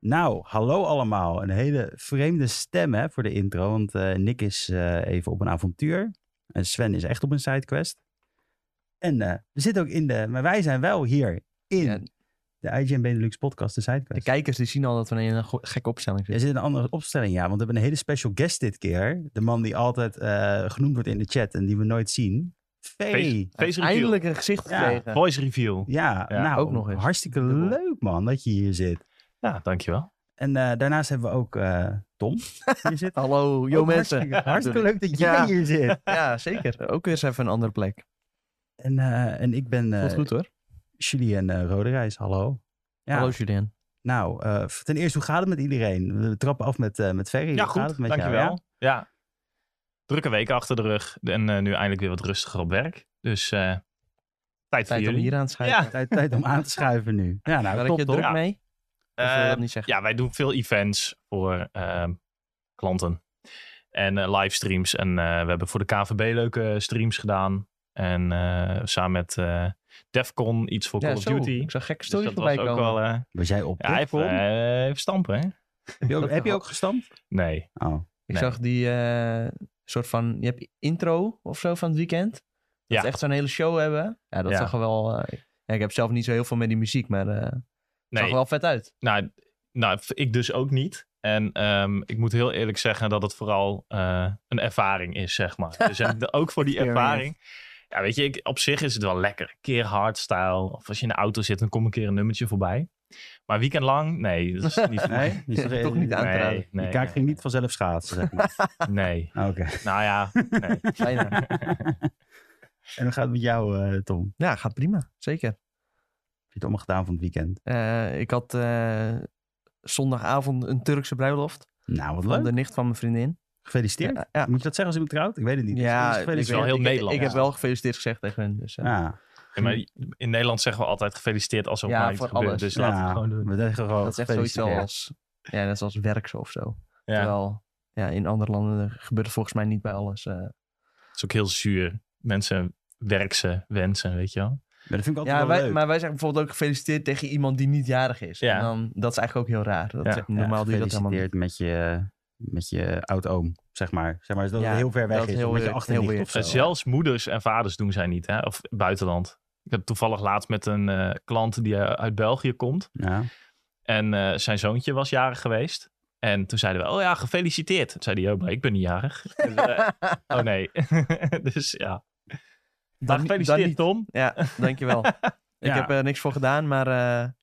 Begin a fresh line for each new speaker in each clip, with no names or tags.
Nou, hallo allemaal. Een hele vreemde stem hè, voor de intro. Want eh, Nick is eh, even op een avontuur. En Sven is echt op een sidequest. En eh, we zitten ook in de... Maar wij zijn wel hier in
Ja,
de IGN Benelux podcast, de
de
sidequest.
kijkers die zien al dat we in een go- gekke opstelling
Er
zitten.
zit een andere opstelling, ja. Want we hebben een hele special guest dit keer. De man die altijd eh, genoemd wordt in de chat en die we nooit zien. Vee.
Face reveal.
Eindelijk een gezicht
Ja.
gekregen.
Voice reveal.
Ja,
Ja,
nou,
ook nog eens.
hartstikke
Dubbel.
leuk man dat je hier zit.
Ja, dankjewel.
En eh, daarnaast hebben we ook eh, Tom hier zit.
Hallo, yo
Ook
mensen.
Hartstikke, hartstikke leuk dat jij
Ja.
hier zit.
Ja, zeker. Ook eens even een andere plek.
En, eh, en ik ben
Voelt
eh
goed hoor.
Julien eh, Roderijs, hallo. Ja,
Hallo Julien.
nou, eh, ten eerste, hoe gaat het met iedereen? We trappen af met, eh met Ferry.
Ja,
Hoe gaat
goed.
het met jou,
dankjewel.
ja?
ja? Drukke week achter de rug. En eh, nu eindelijk weer wat rustiger op werk. Dus eh, tijd voor
Tijd om
jullie.
hier aan te schrijven.
Ja.
Tijd, tijd om aan te schuiven nu. Ja, nou,
Werk
top,
je
toch?
druk
Ja.
mee? Of wil je
Eh,
dat niet zeggen?
ja, wij doen veel events voor ehm, klanten. En eh, livestreams. En eh, we hebben voor de KVB leuke streams gedaan. En eh, samen met eh, Defcon iets voor
Ja,
Call of
zo.
Duty.
Ik zag gekke
Dus
stories
dat
voorbij
was
komen.
ook wel... eh,
Was jij op?
ja, even,
Tom?
eh, even stampen, hè?
heb, je ook,
dat
heb je
wel.
ook gestampt?
Nee.
Oh,
Ik
Nee.
zag die eh, soort van, je hebt intro of zo van het weekend. Dat
Ja.
ze echt zo'n hele show hebben. Ja, dat
Ja.
zag er wel... eh, ja, ik heb zelf niet zo heel veel met die muziek, maar eh, het zag
Nee,
er wel vet uit.
Nou, nou, ik dus ook niet. En ehm, ik moet heel eerlijk zeggen dat het vooral eh, een ervaring is, zeg maar. Dus en de- ook voor die
Experience.
ervaring. Ja, weet je, ik, op zich is het wel lekker. Een keer hardstyle. Of als je in de auto zit, dan komt een keer een nummertje voorbij. Maar weekend lang? Nee, dat is niet voor mij.
nee? Is er-
Toch niet aan te
Nee,
raden.
nee,
je kaak
nee,
ging niet vanzelf schaatsen, zeg maar.
Nee.
Oké.
Nou ja, nee.
Bijna.
En hoe gaat het met jou, eh, Tom? Heb
ja, gaat prima. Zeker.
je het allemaal gedaan van het weekend?
Eh, ik had eh, zondagavond een Turkse bruiloft.
Nou, wat
Van
leuk.
de nicht van mijn vriendin.
Gefeliciteerd.
Ja, ja.
Moet je dat zeggen als iemand trouwt? Ik weet het niet. Dus
Ja, ik, weet-
gefeliciteerd. Ah.
wel heel
ik-
Nederlands.
Ik heb wel gefeliciteerd gezegd tegen hun. Dus, eh,
Ja,
Ja, maar in Nederland zeggen we altijd gefeliciteerd als er
Ja,
op mij iets
voor
gebeurt.
alles.
Dus
ja.
laten we het gewoon doen.
We zeggen gewoon
dat is echt zoiets
gefeliciteerd.
als, ja, net zoals werks of zo.
Ja,
Terwijl ja, in andere landen gebeurt het volgens mij niet bij alles. eh.
het is ook heel zuur. Mensen werkse wensen, weet je wel.
Maar dat vind ik altijd
Ja,
wel
wij,
leuk.
maar wij zeggen bijvoorbeeld ook gefeliciteerd tegen iemand die niet jarig is.
Ja.
En dan, dat is eigenlijk ook heel raar. Dat
Ja.
is echt- normaal doe je dat helemaal niet.
gefeliciteerd met je, eh, met je oud-oom, zeg maar. Zeg maar dus dat het
Ja,
heel ver weg
dat
is.
is heel
of met je
weird,
achternicht
heel
of zo.
Eh, Zelfs moeders en vaders doen zij niet, hè? Of buitenland. Ik heb toevallig laatst met een eh, klant die eh, uit België komt.
Ja.
En eh, zijn zoontje was jarig geweest. En toen zeiden we, oh ja, gefeliciteerd. Toen zei hij, oh, maar ik ben niet jarig. Dus, eh, oh nee. dus ja. Maar
Dan, niet- dan
gefeliciteerd,
niet.
Tom.
Ja, dankjewel. Ik
Ja.
heb er niks voor gedaan, maar eh ja,
Heb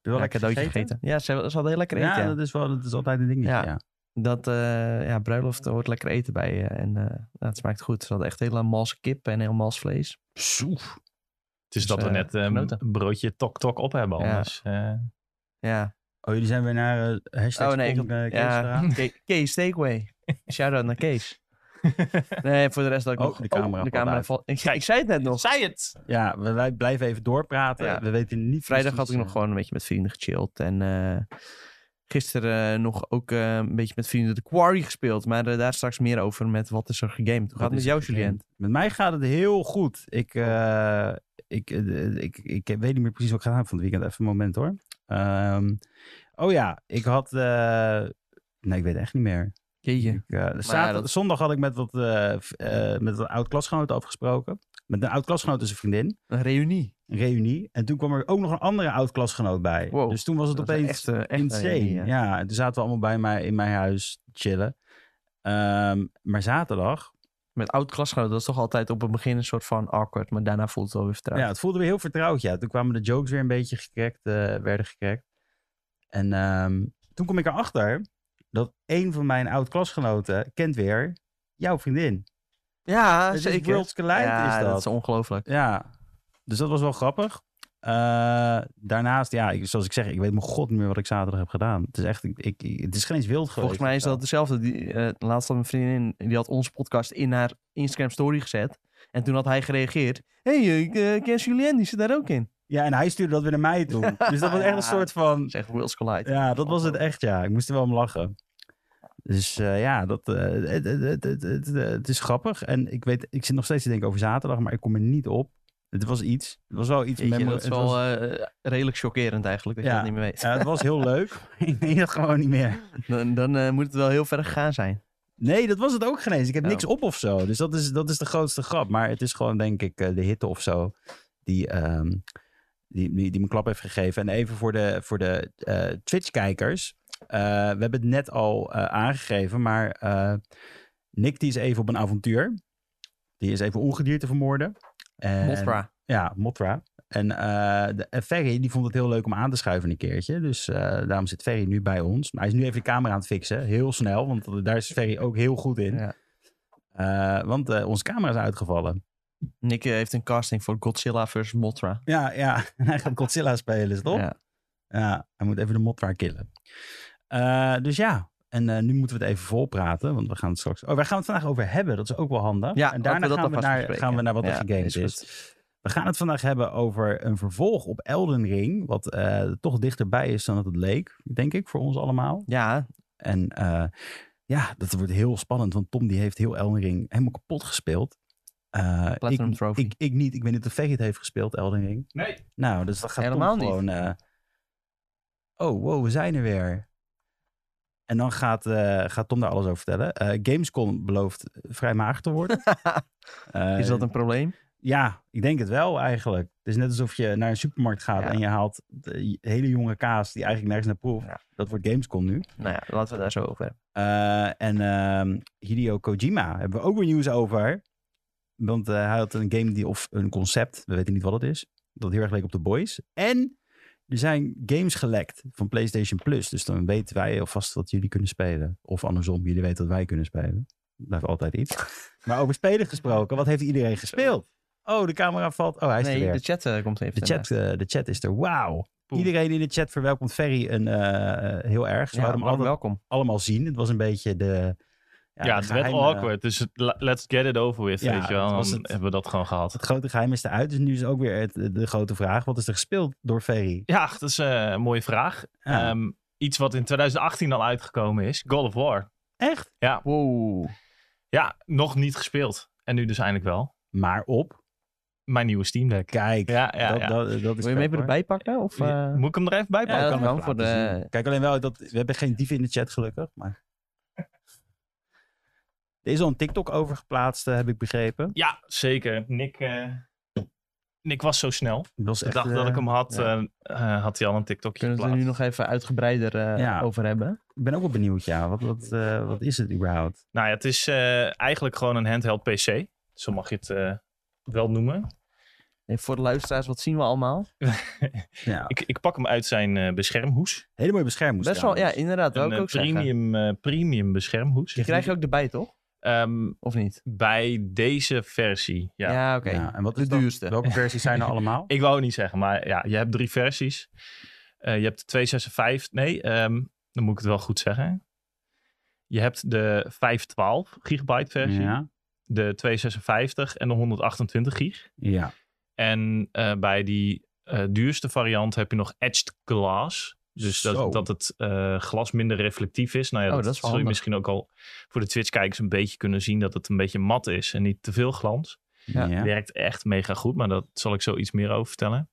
je wel
een cadeautje gegeten. Ja, ze, ze hadden heel lekker eten.
Ja,
ja.
dat is, wel, dat is altijd een dingetje. Ja.
Ja. dat eh, ja, bruiloft er hoort lekker eten bij. eh, en eh, ja, het smaakt goed. Ze hadden echt hele malse kip en heel mals vlees.
Soef.
Het
Dus,
is dat we
eh,
net eh,
genoten.
een broodje tok-tok op hebben
Ja.
anders. eh.
Ja,
Oh, jullie zijn weer naar eh, hashtag
Oh, nee, ik
Tom, eh, Kees
ja.
gegaan?
Ke- Kees Takeaway. Shout-out naar Kees. Nee, voor de rest dat ik
Oh,
nog...
de camera valt
de camera
uit.
valt... Ik,
Kijk.
ik zei het net nog.
Zei het!
Ja, we- wij blijven even doorpraten.
Ja.
We weten niet
Vrijdag had
precies,
ik nog
eh,
gewoon een beetje met vrienden gechilled. En eh, gisteren eh, nog ook eh, een beetje met vrienden de Quarry gespeeld. Maar eh, daar straks meer over met wat is er gegamed. Hoe
Wat
gaat het met
is
jou,
er gegamed?
Julien? Oh.
Met mij gaat het heel goed. Ik, eh, ik, eh, ik, ik, ik weet niet meer precies wat ik gedaan heb van het weekend. Even een moment hoor. Ehm, oh ja, ik had... eh, nee, ik weet echt niet meer.
Jeetje.
Ik, eh, zaterdag-
dat-
Zondag had ik met wat, eh, f- eh, met wat oud-klasgenoot afgesproken. Met een oud-klasgenoot en zijn vriendin.
Een reunie.
Een reunie. En toen kwam er ook nog een andere oud-klasgenoot bij.
Wow,
Dus toen was het
Dat is
opeens
echt, eh, echt een
insane.
reunie,
ja.
hè?
en toen zaten we allemaal bij mij in mijn huis te chillen. Ehm, maar zaterdag
Met oud-klasgenoten, dat is toch altijd op het begin een soort van awkward. Maar daarna voelt het wel weer vertrouwd.
Ja, het voelde weer heel vertrouwd. Ja, toen kwamen de jokes weer een beetje gekrekt, eh, werden gekrekt. En ehm, toen kom ik erachter dat een van mijn oud-klasgenoten kent weer jouw vriendin.
Ja,
Het is
zeker.
worlds collide,
ja,
is dat.
is ongelooflijk.
Ja, dus dat was wel grappig. Eh, daarnaast, ja, ik, zoals ik zeg, ik weet mijn god niet meer wat ik zaterdag heb gedaan. Het is echt, ik, ik- het is geen eens wild geweest.
Volgens mij is dat hetzelfde. Die, eh, laatst had mijn vriendin, die had onze podcast in haar Instagram story gezet. En toen had hij gereageerd. Hé, hey, ik eh, ken Julien, die zit daar ook in.
Ja, en hij stuurde dat weer naar mij toe. Dus dat was echt een soort van...
Dat is echt Worlds Collide.
Ja, dat was het echt, ja. Ik moest er wel om lachen. Dus eh, ja, dat, eh, het, het, het, het, het, het is grappig. En ik, weet, ik zit nog steeds te denken over zaterdag, maar ik kom er niet op. Het was iets. Het was wel iets
Jeetje,
memora-
dat is
het
wel
was-
eh, redelijk chockerend eigenlijk, dat je
Ja.
dat niet meer weet.
ja, het was heel leuk. ik weet dat gewoon niet meer.
Dan, dan eh, moet het wel heel ver gegaan zijn.
Nee, dat was het ook geen eens. Ik heb
Oh.
niks op of zo. Dus dat is, dat is de grootste grap. Maar het is gewoon, denk ik, eh, de hitte of zo. Die, ehm, die, die, die me klap heeft gegeven. En even voor de, voor de eh, Twitch-kijkers. Eh, we hebben het net al eh, aangegeven. Maar eh, Nick die is even op een avontuur. Die is even ongedierte vermoorden. En,
Mothra.
Ja, Motra. En eh, de, en Ferry die vond het heel leuk om aan te schuiven een keertje. Dus eh, daarom zit Ferry nu bij ons. Maar hij is nu even de camera aan het fixen. Heel snel, want daar is Ferry ook heel goed in.
Ja.
Eh, want eh, onze camera is uitgevallen.
Nick eh, heeft een casting voor Godzilla versus Mothra.
Ja, ja. En hij gaat Godzilla spelen, is het op? Ja.
Ja.
hij moet even de Motra killen. Eh, dus ja, en eh, nu moeten we het even volpraten. Want we gaan het straks... Oh, waar gaan we het vandaag over hebben? Dat is ook wel handig.
Ja,
en
laten
daarna
we dat
gaan, we
alvast
naar,
bespreken.
gaan we naar wat
Ja,
er gegamed is.
is goed.
We gaan het vandaag hebben over een vervolg op Elden Ring. Wat eh, toch dichterbij is dan dat het leek, denk ik, voor ons allemaal.
Ja,
En eh, ja, dat wordt heel spannend. Want Tom die heeft heel Elden Ring helemaal kapot gespeeld. Eh,
Platinum
ik,
Trophy.
ik, ik niet. Ik weet niet of Veggie het heeft gespeeld, Elden Ring.
Nee.
Nou, dus dat gaat Tom
Helemaal niet.
gewoon... eh, oh, wow, we zijn er weer. En dan gaat, eh, gaat Tom daar alles over vertellen. Eh, Gamescom belooft vrij maag te worden. Eh,
is dat een probleem?
ja, ik denk het wel eigenlijk. Het is net alsof je naar een supermarkt gaat
Ja.
en je haalt de hele jonge kaas die eigenlijk nergens naar proeft.
Ja.
Dat wordt Gamescom nu.
Nou ja, laten we het daar zo over hebben.
Eh, en ehm, Hideo Kojima hebben we ook weer nieuws over. Want eh, hij had een game die, of een concept, we weten niet wat het is, dat heel erg leek op The Boys. En er zijn games gelekt van PlayStation Plus. Dus dan weten wij alvast wat jullie kunnen spelen. Of andersom, jullie weten wat wij kunnen spelen. Blijft altijd iets. Maar over spelen gesproken, wat heeft iedereen gespeeld? Oh, de camera valt. Oh, hij is er
Nee,
weer.
de chat eh, komt even.
De chat, eh, de chat is er. Wauw.
Poeh.
Iedereen in de chat verwelkomt Ferry een, eh, eh, heel erg. Ze
Ja,
hadden hem
warm
alle-
welkom.
allemaal zien. Het was een beetje de...
Ja,
de
het werd
geheime-
awkward. Dus la- let's get it over with,
eh, Ja,
weet je wel.
dat was
Dan
het.
hebben we dat gewoon gehad.
Het grote geheim is eruit. Dus nu is ook weer het- de grote vraag. Wat is er gespeeld door Ferry? Nou,
Ja, dat is eh, een mooie vraag.
Ja.
Ehm, iets wat in 2018 al uitgekomen is. God of War.
Echt?
Ja,
Wow.
ja nog niet gespeeld. En nu dus eindelijk wel.
Maar op.
Mijn nieuwe Steam Deck.
Kijk.
Ja, ja,
dat,
ja.
Dat, dat is
Wil je hem
vet,
even
hoor.
erbij pakken? Of, eh,
Ja, Moet ik hem er even bij
Ja,
pakken?
dat
Ik kan
kan
het
voor
laten
de-
zien. Kijk alleen wel, dat, we hebben geen dieven in de chat gelukkig. Maar... Er is al een TikTok over geplaatst, eh, heb ik begrepen.
Ja, zeker. Nick, eh, Nick was zo snel.
Dat was
De
echt,
dag dat
eh,
ik hem had,
ja.
eh, eh, had hij al een TikTokje
kunnen we het
geplaatst.
er nu nog even uitgebreider eh,
Ja.
over hebben?
Ik ben ook wel benieuwd, ja. Wat, wat, eh, wat is het überhaupt?
Nou ja, het is eh, eigenlijk gewoon een handheld PC. Zo mag je het eh, wel noemen.
En voor de luisteraars, wat zien we allemaal?
Ja.
Ik, ik pak hem uit zijn eh, beschermhoes.
Hele mooie bescherming.
Best wel, ja, inderdaad.
Een
Wou ik
eh,
ook zeggen.
premium, eh, premium beschermhoes.
Die krijg je ook erbij, toch?
Ehm,
Of niet?
bij deze versie, ja.
Ja, oké.
Ja, en wat
De
is dan-
duurste.
Welke versies zijn er allemaal?
Ik wou het niet zeggen, maar ja, je hebt drie versies. Eh, je hebt de 256, nee, ehm, dan moet ik het wel goed zeggen. Je hebt de 512 gigabyte versie,
Ja.
de 256 en de 128 gig.
ja.
En eh, bij die eh, duurste variant heb je nog etched glass. Dus
Zo.
dat, dat het eh, glas minder reflectief is. Nou ja,
Oh,
dat,
dat is wel
zul je
handig.
misschien ook al voor de Twitch-kijkers een beetje kunnen zien dat het een beetje mat is en niet te veel glans.
Ja.
Ja.
Werkt echt mega goed, maar daar zal ik zo iets meer over vertellen.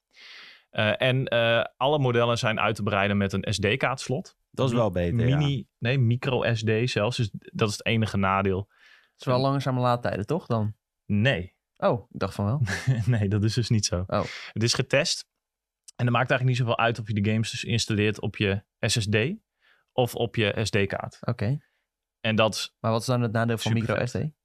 Eh, en eh, alle modellen zijn uit te breiden met een SD-kaartslot.
Dat is wel
E
beter. ja.
Mini, nee, micro SD zelfs. Dus dat is het enige nadeel.
Het is wel langzame laadtijden, toch dan?
Nee,
Oh, ik dacht van wel.
nee, dat is dus niet zo.
Oh.
Het is getest. En dat maakt eigenlijk niet zoveel uit of je de games dus installeert op je SSD of op je SD-kaart.
Oké.
En dat,
Maar wat is dan het nadeel van
Super
micro
vet.
SD?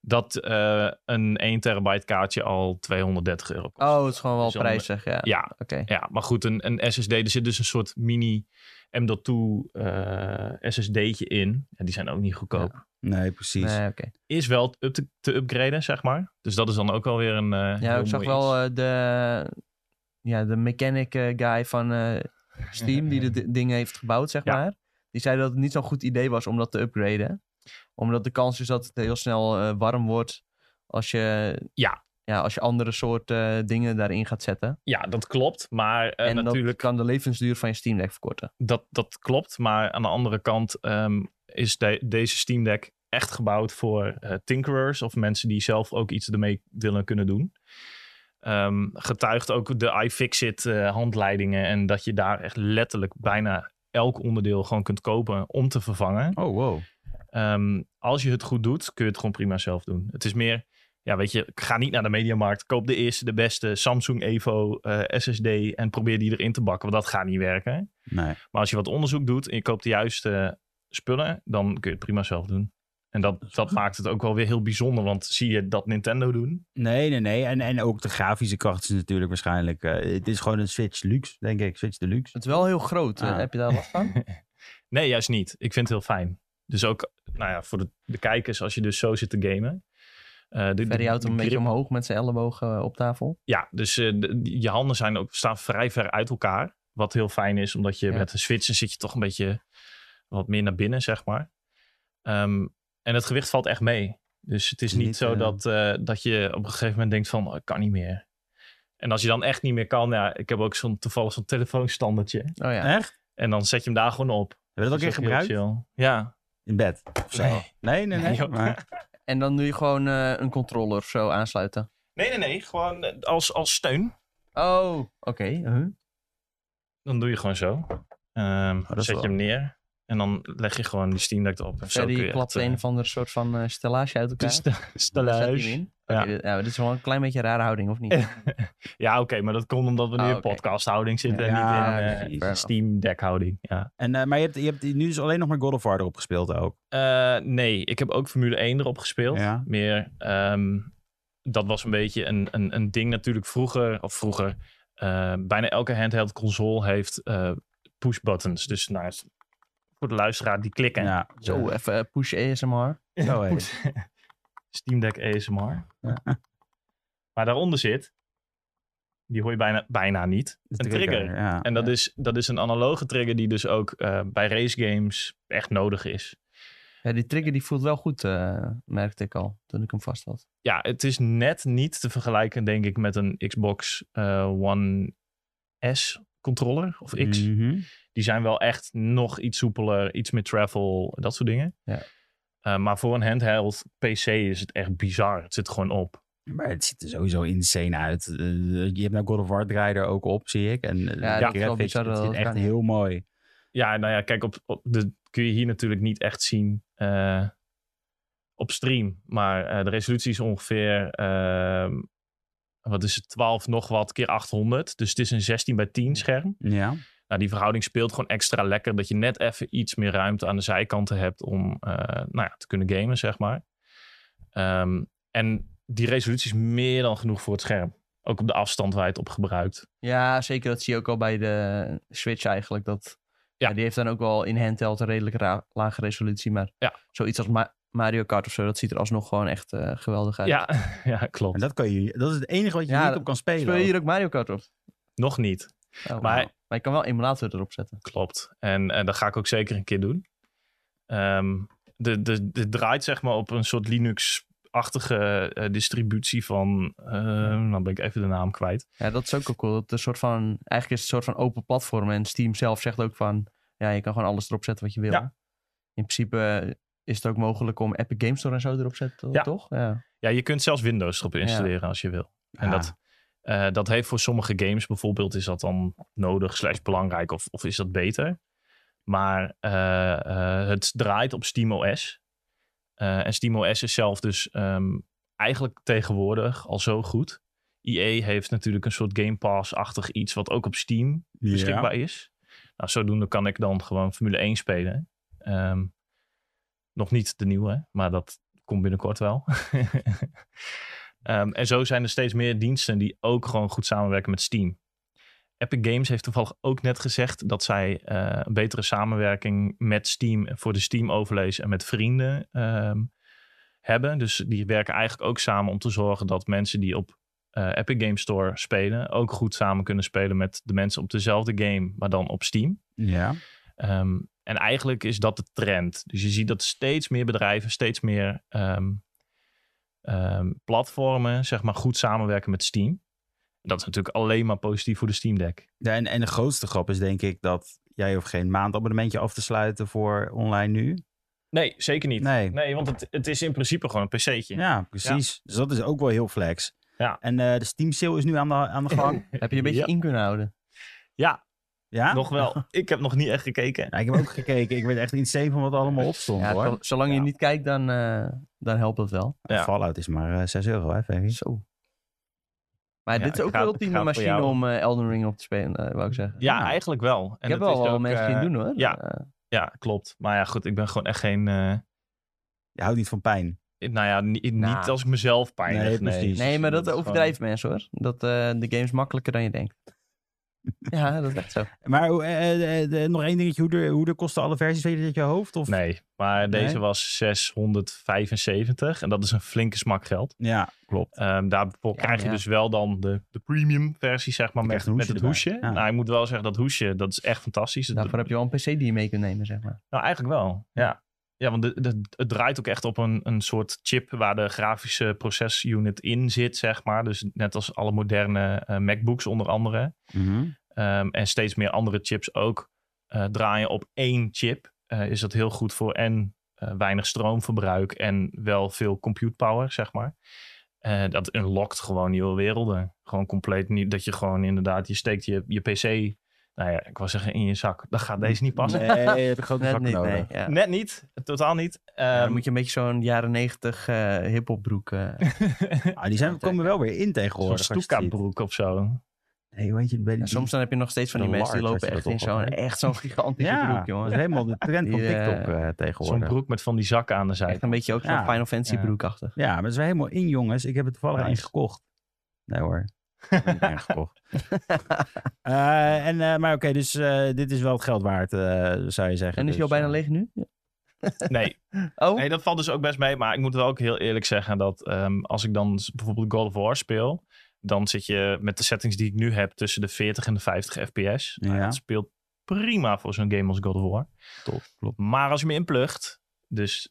dat eh, een 1 terabyte kaartje al 230 euro kost.
Oh, het is gewoon wel
Dus dan-
prijzig, ja.
Ja,
Oké.
ja, maar goed, een, een SSD, er zit dus een soort mini M.2 eh SSD'tje in. Ja, die zijn ook niet goedkoop.
Nee, precies.
Nee, oké.
Is wel up te, te upgraden, zeg maar. Dus dat is dan ook wel weer een eh,
Ja,
heel
ik zag
mooi
wel
iets.
eh, de, ja, de mechanic eh, guy van eh, Steam, die de d- dingen heeft gebouwd, zeg
Ja.
maar. Die zei dat het niet zo'n goed idee was om dat te upgraden. Omdat de kans is dat het heel snel eh, warm wordt als je,
Ja.
Ja, als je andere soort eh, dingen daarin gaat zetten.
Ja, dat klopt. Maar eh,
en
natuurlijk...
dat kan de levensduur van je Steam Deck verkorten.
dat, dat klopt. Maar aan de andere kant ehm, is de- deze Steam Deck echt gebouwd voor eh, tinkerers of mensen die zelf ook iets ermee willen kunnen doen. Ehm, Ehm, getuigt ook de iFixit eh, handleidingen en dat je daar echt letterlijk bijna elk onderdeel gewoon kunt kopen om te vervangen.
Oh, wow.
Ehm, als je het goed doet, kun je het gewoon prima zelf doen. Het is meer, ja, weet je, ga niet naar de mediamarkt. Koop de eerste, de beste Samsung Evo eh, SSD en probeer die erin te bakken, want dat gaat niet werken.
Nee.
Maar als je wat onderzoek doet en je koopt de juiste spullen, dan kun je het prima zelf doen. En dat, dat maakt het ook wel weer heel bijzonder, want zie je dat Nintendo doen?
Nee, nee, nee. En, en ook de grafische kracht is natuurlijk waarschijnlijk... eh, het is gewoon een Switch luxe, denk ik. Switch deluxe.
Het is wel heel groot. eh,
Ah.
Heb je daar last van?
Nee, juist niet. Ik vind het heel fijn. Dus ook, nou ja, voor de, de kijkers, als je dus zo zit te gamen. eh, de- de,
Ferry houdt hem een
de
beetje
grip-
omhoog met zijn ellebogen eh, op tafel.
Ja, dus eh, de- die- je handen zijn ook, staan vrij ver uit elkaar. Wat heel fijn is, omdat je
Ja.
met een switch dan zit je toch een beetje wat meer naar binnen, zeg maar. Ehm, en het gewicht valt echt mee. Dus het is
Niet,
niet, zo
eh,
dat, eh, dat je op een gegeven moment denkt van, oh, ik kan niet meer. En als je dan echt niet meer kan, ja, ik heb ook zo'n toevallig zo'n telefoonstandertje.
Oh ja.
Echt?
En dan zet je hem daar gewoon op. Dus
Heb je dat ook
Dat
echt
is ook heel
gebruikt?
chill. Ja,
In bed? Of zo?
Nee.
Nee, nee, nee.
Nee, joh.
maar,
En dan doe je gewoon eh, een controller zo aansluiten.
Nee, nee, nee. Gewoon eh, als, als steun.
Oh, oké. huh.
Dan doe je gewoon zo. Ehm,
dat is
zet
wel-
je hem neer. En dan leg je gewoon die Steam Deck erop. En zo kun
Ferry
je
klapt
echt,
een
eh,
of ander soort van eh, stellage uit elkaar.
de sta-
Daar staat hij
stallage.
hem in. Oké, dit- ja, dit is wel een klein beetje een rare houding, of niet?
Ja, oké. maar dat komt omdat we nu
Ah,
in
oké.
podcasthouding zitten.
Ja,
en
precies.
niet in eh,
Fair enough.
Steam Deck houding. Ja.
en, eh, maar je, hebt, je hebt nu dus alleen nog maar God of War erop gespeeld ook.
Eh, nee, ik heb ook Formule 1 erop gespeeld.
Ja.
Meer, ehm, dat was een beetje een, een, een ding natuurlijk vroeger. Of vroeger, eh, bijna elke handheld console heeft eh, push buttons. Dus nou, voor de luisteraar, die klikken.
Ja.
Zo, even eh, push ASMR.
Zo heet het.
Steam Deck ASMR.
Ja.
Maar daaronder zit, die hoor je bijna, bijna niet.
De
Een trigger.
Ja.
En dat, is, dat is een analoge trigger die dus ook eh, bij race games echt nodig is.
Ja, die trigger die voelt wel goed, eh, merkte ik al toen ik hem vast had.
Ja, het is net niet te vergelijken, denk ik, met een Xbox eh, One S controller of X.
Mhm.
Die zijn wel echt nog iets soepeler, iets meer travel, dat soort dingen.
Ja.
Eh, maar voor een handheld PC is het echt bizar. Het zit gewoon op.
Maar het ziet er sowieso insane uit. Eh, je hebt nou God of War draaier ook op, zie ik. En eh,
Ja,
de
dat is wel
graphics,
bizar
het
dat
ziet
dat
echt
kan, ja.
heel mooi.
Ja, nou ja, kijk, op, op de, kun je hier natuurlijk niet echt zien eh, op stream. Maar eh, de resolutie is ongeveer, ehm, wat is het, 12 nog wat keer 800. Dus het is een 16 bij 10 scherm.
Ja.
Nou, die verhouding speelt gewoon extra lekker. Dat je net even iets meer ruimte aan de zijkanten hebt om eh, nou ja, te kunnen gamen, zeg maar. Ehm, en die resolutie is meer dan genoeg voor het scherm. Ook op de afstand waar je het op gebruikt.
Ja, zeker. Dat zie je ook al bij de Switch eigenlijk. Dat,
Ja.
ja. die heeft dan ook wel in handheld een redelijk ra- lage resolutie. Maar
Ja.
zoiets als Ma- Mario Kart of zo, dat ziet er alsnog gewoon echt eh, geweldig uit.
Ja, ja
En
klopt.
dat, kan je, dat is het enige wat je
Ja,
niet op kan spelen.
Speel je hier ook Mario Kart op?
Nog niet.
Oh,
Maar-
wauw. maar je kan wel emulator erop zetten.
Klopt. En eh, dat ga ik ook zeker een keer doen. Ehm de, de, de draait zeg maar op een soort Linux-achtige eh, distributie van... ehm dan ben ik even de naam kwijt.
Ja, dat is ook wel cool. Dat het een soort van, eigenlijk is het een soort van open platform. En Steam zelf zegt ook van, ja, je kan gewoon alles erop zetten wat je wil.
Ja.
In principe eh, is het ook mogelijk om Epic Games Store en zo erop te zetten,
Ja.
toch? Ja.
Ja, je kunt zelfs Windows erop installeren als je wil. En
Ja.
dat, eh, dat heeft voor sommige games bijvoorbeeld... is dat dan nodig, slechts belangrijk of, of is dat beter? Maar eh, eh, het draait op SteamOS. Eh en SteamOS is zelf dus ehm, eigenlijk tegenwoordig al zo goed. EA heeft natuurlijk een soort Game Pass-achtig iets... wat ook op Steam
Ja.
beschikbaar is. Nou, zodoende kan ik dan gewoon Formule 1 spelen. Ehm, nog niet de nieuwe, hè, maar dat komt binnenkort wel. Ehm, en zo zijn er steeds meer diensten die ook gewoon goed samenwerken met Steam. Epic Games heeft toevallig ook net gezegd dat zij eh, een betere samenwerking met Steam voor de Steam overlays en met vrienden ehm, hebben. Dus die werken eigenlijk ook samen om te zorgen dat mensen die op eh, Epic Games Store spelen, ook goed samen kunnen spelen met de mensen op dezelfde game, maar dan op Steam.
Ja.
Ehm, en eigenlijk is dat de trend. Dus je ziet dat steeds meer bedrijven, steeds meer ehm, ehm, platformen, zeg maar, goed samenwerken met Steam. Dat is natuurlijk alleen maar positief voor de Steam Deck.
Ja, en, en de grootste grap is denk ik dat jij hoeft geen maandabonnementje af te sluiten voor online nu.
Nee, zeker niet.
Nee.
want het, het is in principe gewoon een PC'tje.
Ja, precies. Dus dat is ook wel heel flex.
Ja.
En eh, de Steam sale is nu aan de, aan de gang.
Heb je een beetje
Ja.
in kunnen houden?
Ja,
ja?
nog wel. Ik heb nog niet echt gekeken.
Ja, ik heb ook gekeken. Ik werd echt insane van wat er allemaal op stond
Ja,
hoor.
zo- zolang je
Ja.
niet kijkt, dan, eh, dan helpt dat wel.
Ja.
Fallout is maar eh, 6 euro hè, Ferry?
Zo. Maar
Ja,
dit is
het
ook
gaat-
de
het
ultieme
gaat voor
machine
jou.
om eh, Elden Ring op te spelen, eh, wou ik zeggen.
Ja,
Ja.
eigenlijk wel. En
ik heb
het is
wel wel
ook,
mensen die
eh,
het doen hoor.
ja.
Eh,
Ja, klopt. Maar ja, goed, ik ben gewoon echt geen... eh,
Je houdt niet van pijn.
nou ja, ni- niet
Nou.
als ik mezelf pijnig.
Nee,
Nee,
precies.
nee, maar dat
is gewoon-
overdrijven mensen hoor. Dat eh, de game is makkelijker dan je denkt. ja, dat is echt zo.
Maar hoe- eh, eh, eh, eh, nog één dingetje. Hoe, de, hoe de kosten alle versies? Weet je dat uit je hoofd? Of?
Nee, maar
Nee?
deze was 675 en dat is een flinke smak geld.
Ja, klopt.
Ehm, daarvoor
Ja,
krijg
ja.
je dus wel dan de, de premium versie, zeg maar,
Je
met,
krijgt een
met
hoesje
het
erbij.
hoesje.
Ja.
Nou, ik moet wel zeggen, dat hoesje, dat is echt fantastisch. Dat-
Daarvoor heb je wel een PC die je mee kunt nemen, zeg maar.
Nou, eigenlijk wel, ja. Ja, want de, de- het draait ook echt op een, een soort chip waar de grafische procesunit in zit, zeg maar. Dus net als alle moderne eh, MacBooks onder andere.
Mhm.
Ehm, en steeds meer andere chips ook eh, draaien op één chip. eh, is dat heel goed voor en eh, weinig stroomverbruik en wel veel compute power, zeg maar. Eh, dat unlockt gewoon nieuwe werelden. Gewoon compleet niet dat je gewoon inderdaad, je steekt je, je PC, nou ja, ik wou zeggen in je zak. Dat gaat deze niet passen.
Nee, je hebt een grote nou, eh.
Net
zak
niet,
nodig.
nee. Ja.
Net niet, totaal niet.
Ja, dan
Ehm,
moet je een beetje zo'n jaren negentig eh hip-hop broek.
Ah, die zijn, komen wel weer in
Zo'n
tegenwoordig. als je het ziet.
Stuka broek of zo.
Nee, weet je, bij die-
soms dan heb je nog steeds van die
Een
mensen die
large,
lopen
als
echt
je
in
dat
zo'n
opvalt, hè?
echt zo'n gigantische
ja,
broek,
dat
jongen.
is helemaal de trend van
Die, eh,
TikTok eh,
Zo'n
tegenwoordig.
broek met van die zakken aan de
Echt
zijkant.
een beetje ook zo'n
Ja.
Final Fantasy
Ja.
broekachtig.
Ja, maar dat is wel helemaal in, jongens. Ik heb het toevallig
Nice.
eens gekocht. Nee hoor. Ik heb er niet één gekocht. Eh, en, eh, maar oké, dus eh, dit is wel het geld waard, eh, zou je zeggen.
En
dus,
is die al bijna
eh,
leeg nu?
Nee,
Oh,
Nee, dat valt dus ook best mee. Maar ik moet wel ook heel eerlijk zeggen dat ehm, als ik dan s- bijvoorbeeld God of War speel, dan zit je met de settings die ik nu heb tussen de 40 en de 50 fps. Nou,
Ja.
dat speelt prima voor zo'n game als God of War.
Top, klopt.
Maar als je me inplugt, dus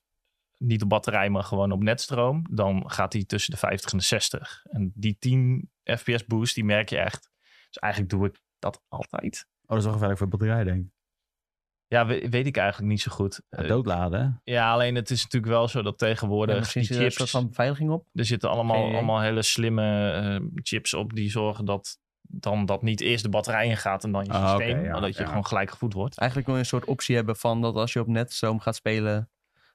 niet op batterij, maar gewoon op netstroom, dan gaat die tussen de 50 en de 60. En die 10 fps boost, die merk je echt. Dus eigenlijk doe ik dat altijd.
Oh, dat is wel gevaarlijk voor de batterij, denk ik.
Ja, we- weet ik eigenlijk niet zo goed.
Ja,
Eh,
doodladen, hè?
ja, alleen het is natuurlijk wel zo dat
ja,
tegenwoordig
misschien
die
zit er een soort
chips...
van beveiliging op.
Er zitten
Geen
allemaal,
idee.
allemaal hele slimme eh, chips op die zorgen dat dan dat niet eerst de batterij ingaat en dan je
Ah,
systeem.
oké, ja,
maar dat je
ja.
gewoon gelijk gevoed wordt.
Eigenlijk wil je een soort optie hebben van dat als je op netstroom gaat spelen,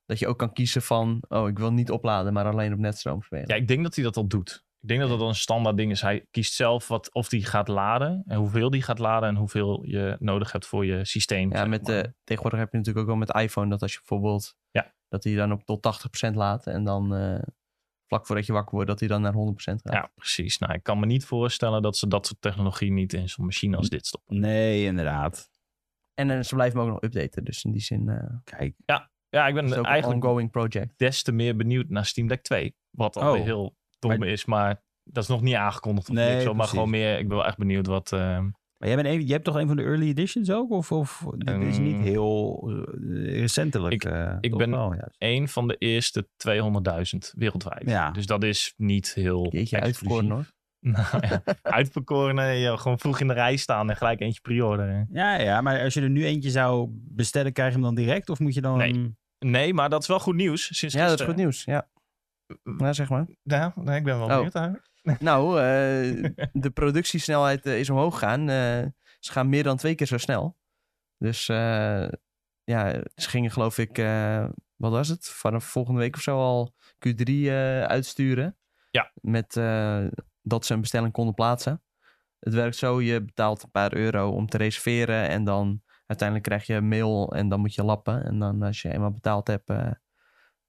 dat je ook kan kiezen van, oh, ik wil niet opladen, maar alleen op netstroom spelen.
Ja, ik denk dat hij dat al doet. Ik denk dat dat al een standaard ding is. Hij kiest zelf wat, of die gaat laden en hoeveel die gaat laden en hoeveel je nodig hebt voor je systeem.
Ja,
zeg
met,
maar.
de tegenwoordig heb je natuurlijk ook wel met iPhone dat als je bijvoorbeeld
Ja.
dat hij dan op tot 80% laat en dan eh, vlak voordat je wakker wordt dat hij dan naar 100% gaat.
ja, precies. Nou, ik kan me niet voorstellen dat ze dat soort technologie niet in zo'n machine als dit stoppen.
Nee, inderdaad.
En eh, ze blijven hem ook nog updaten, dus in die zin eh,
Kijk,
is
Ja, ik
het
ben
ook eigenlijk
eigenlijk
een ongoing project.
des te meer benieuwd naar Steam Deck 2. Wat al
Oh.
weer heel dom
Maar-
is, maar dat is nog niet aangekondigd. Of
Nee,
niks, hoor. maar
precies.
gewoon meer, ik ben wel echt benieuwd wat... ehm,
maar jij, bent een, jij hebt toch een van de early editions ook? Of, of dit is niet
Ehm,
heel eh, recentelijk?
ik-
eh,
ik
toch
ben-
wel, juist.
een van de eerste 200.000 wereldwijd.
Ja.
Dus dat is niet heel
Jeetje,
exclusief.
uitverkoren hoor.
Nou ja, uitverkoren, eh, gewoon vroeg in de rij staan en gelijk eentje pre-orderen.
Ja, ja, maar als je er nu eentje zou bestellen, krijg je hem dan direct? Of moet je dan...
Nee. Nee, maar dat is wel goed nieuws. Sinds
Ja, dat is
gisteren.
goed nieuws. Ja, nou, zeg maar.
Ja, nee, ik ben wel
Oh.
benieuwd eigenlijk.
nou, eh, de productiesnelheid eh, is omhoog gegaan. Eh, ze gaan meer dan twee keer zo snel. Dus eh, ja, ze gingen geloof ik, eh, wat was het? Vanaf volgende week of zo al Q3 eh, uitsturen.
Ja.
Met eh, dat ze een bestelling konden plaatsen. Het werkt zo, je betaalt een paar euro om te reserveren. En dan uiteindelijk krijg je een mail en dan moet je lappen. En dan als je eenmaal betaald hebt, eh,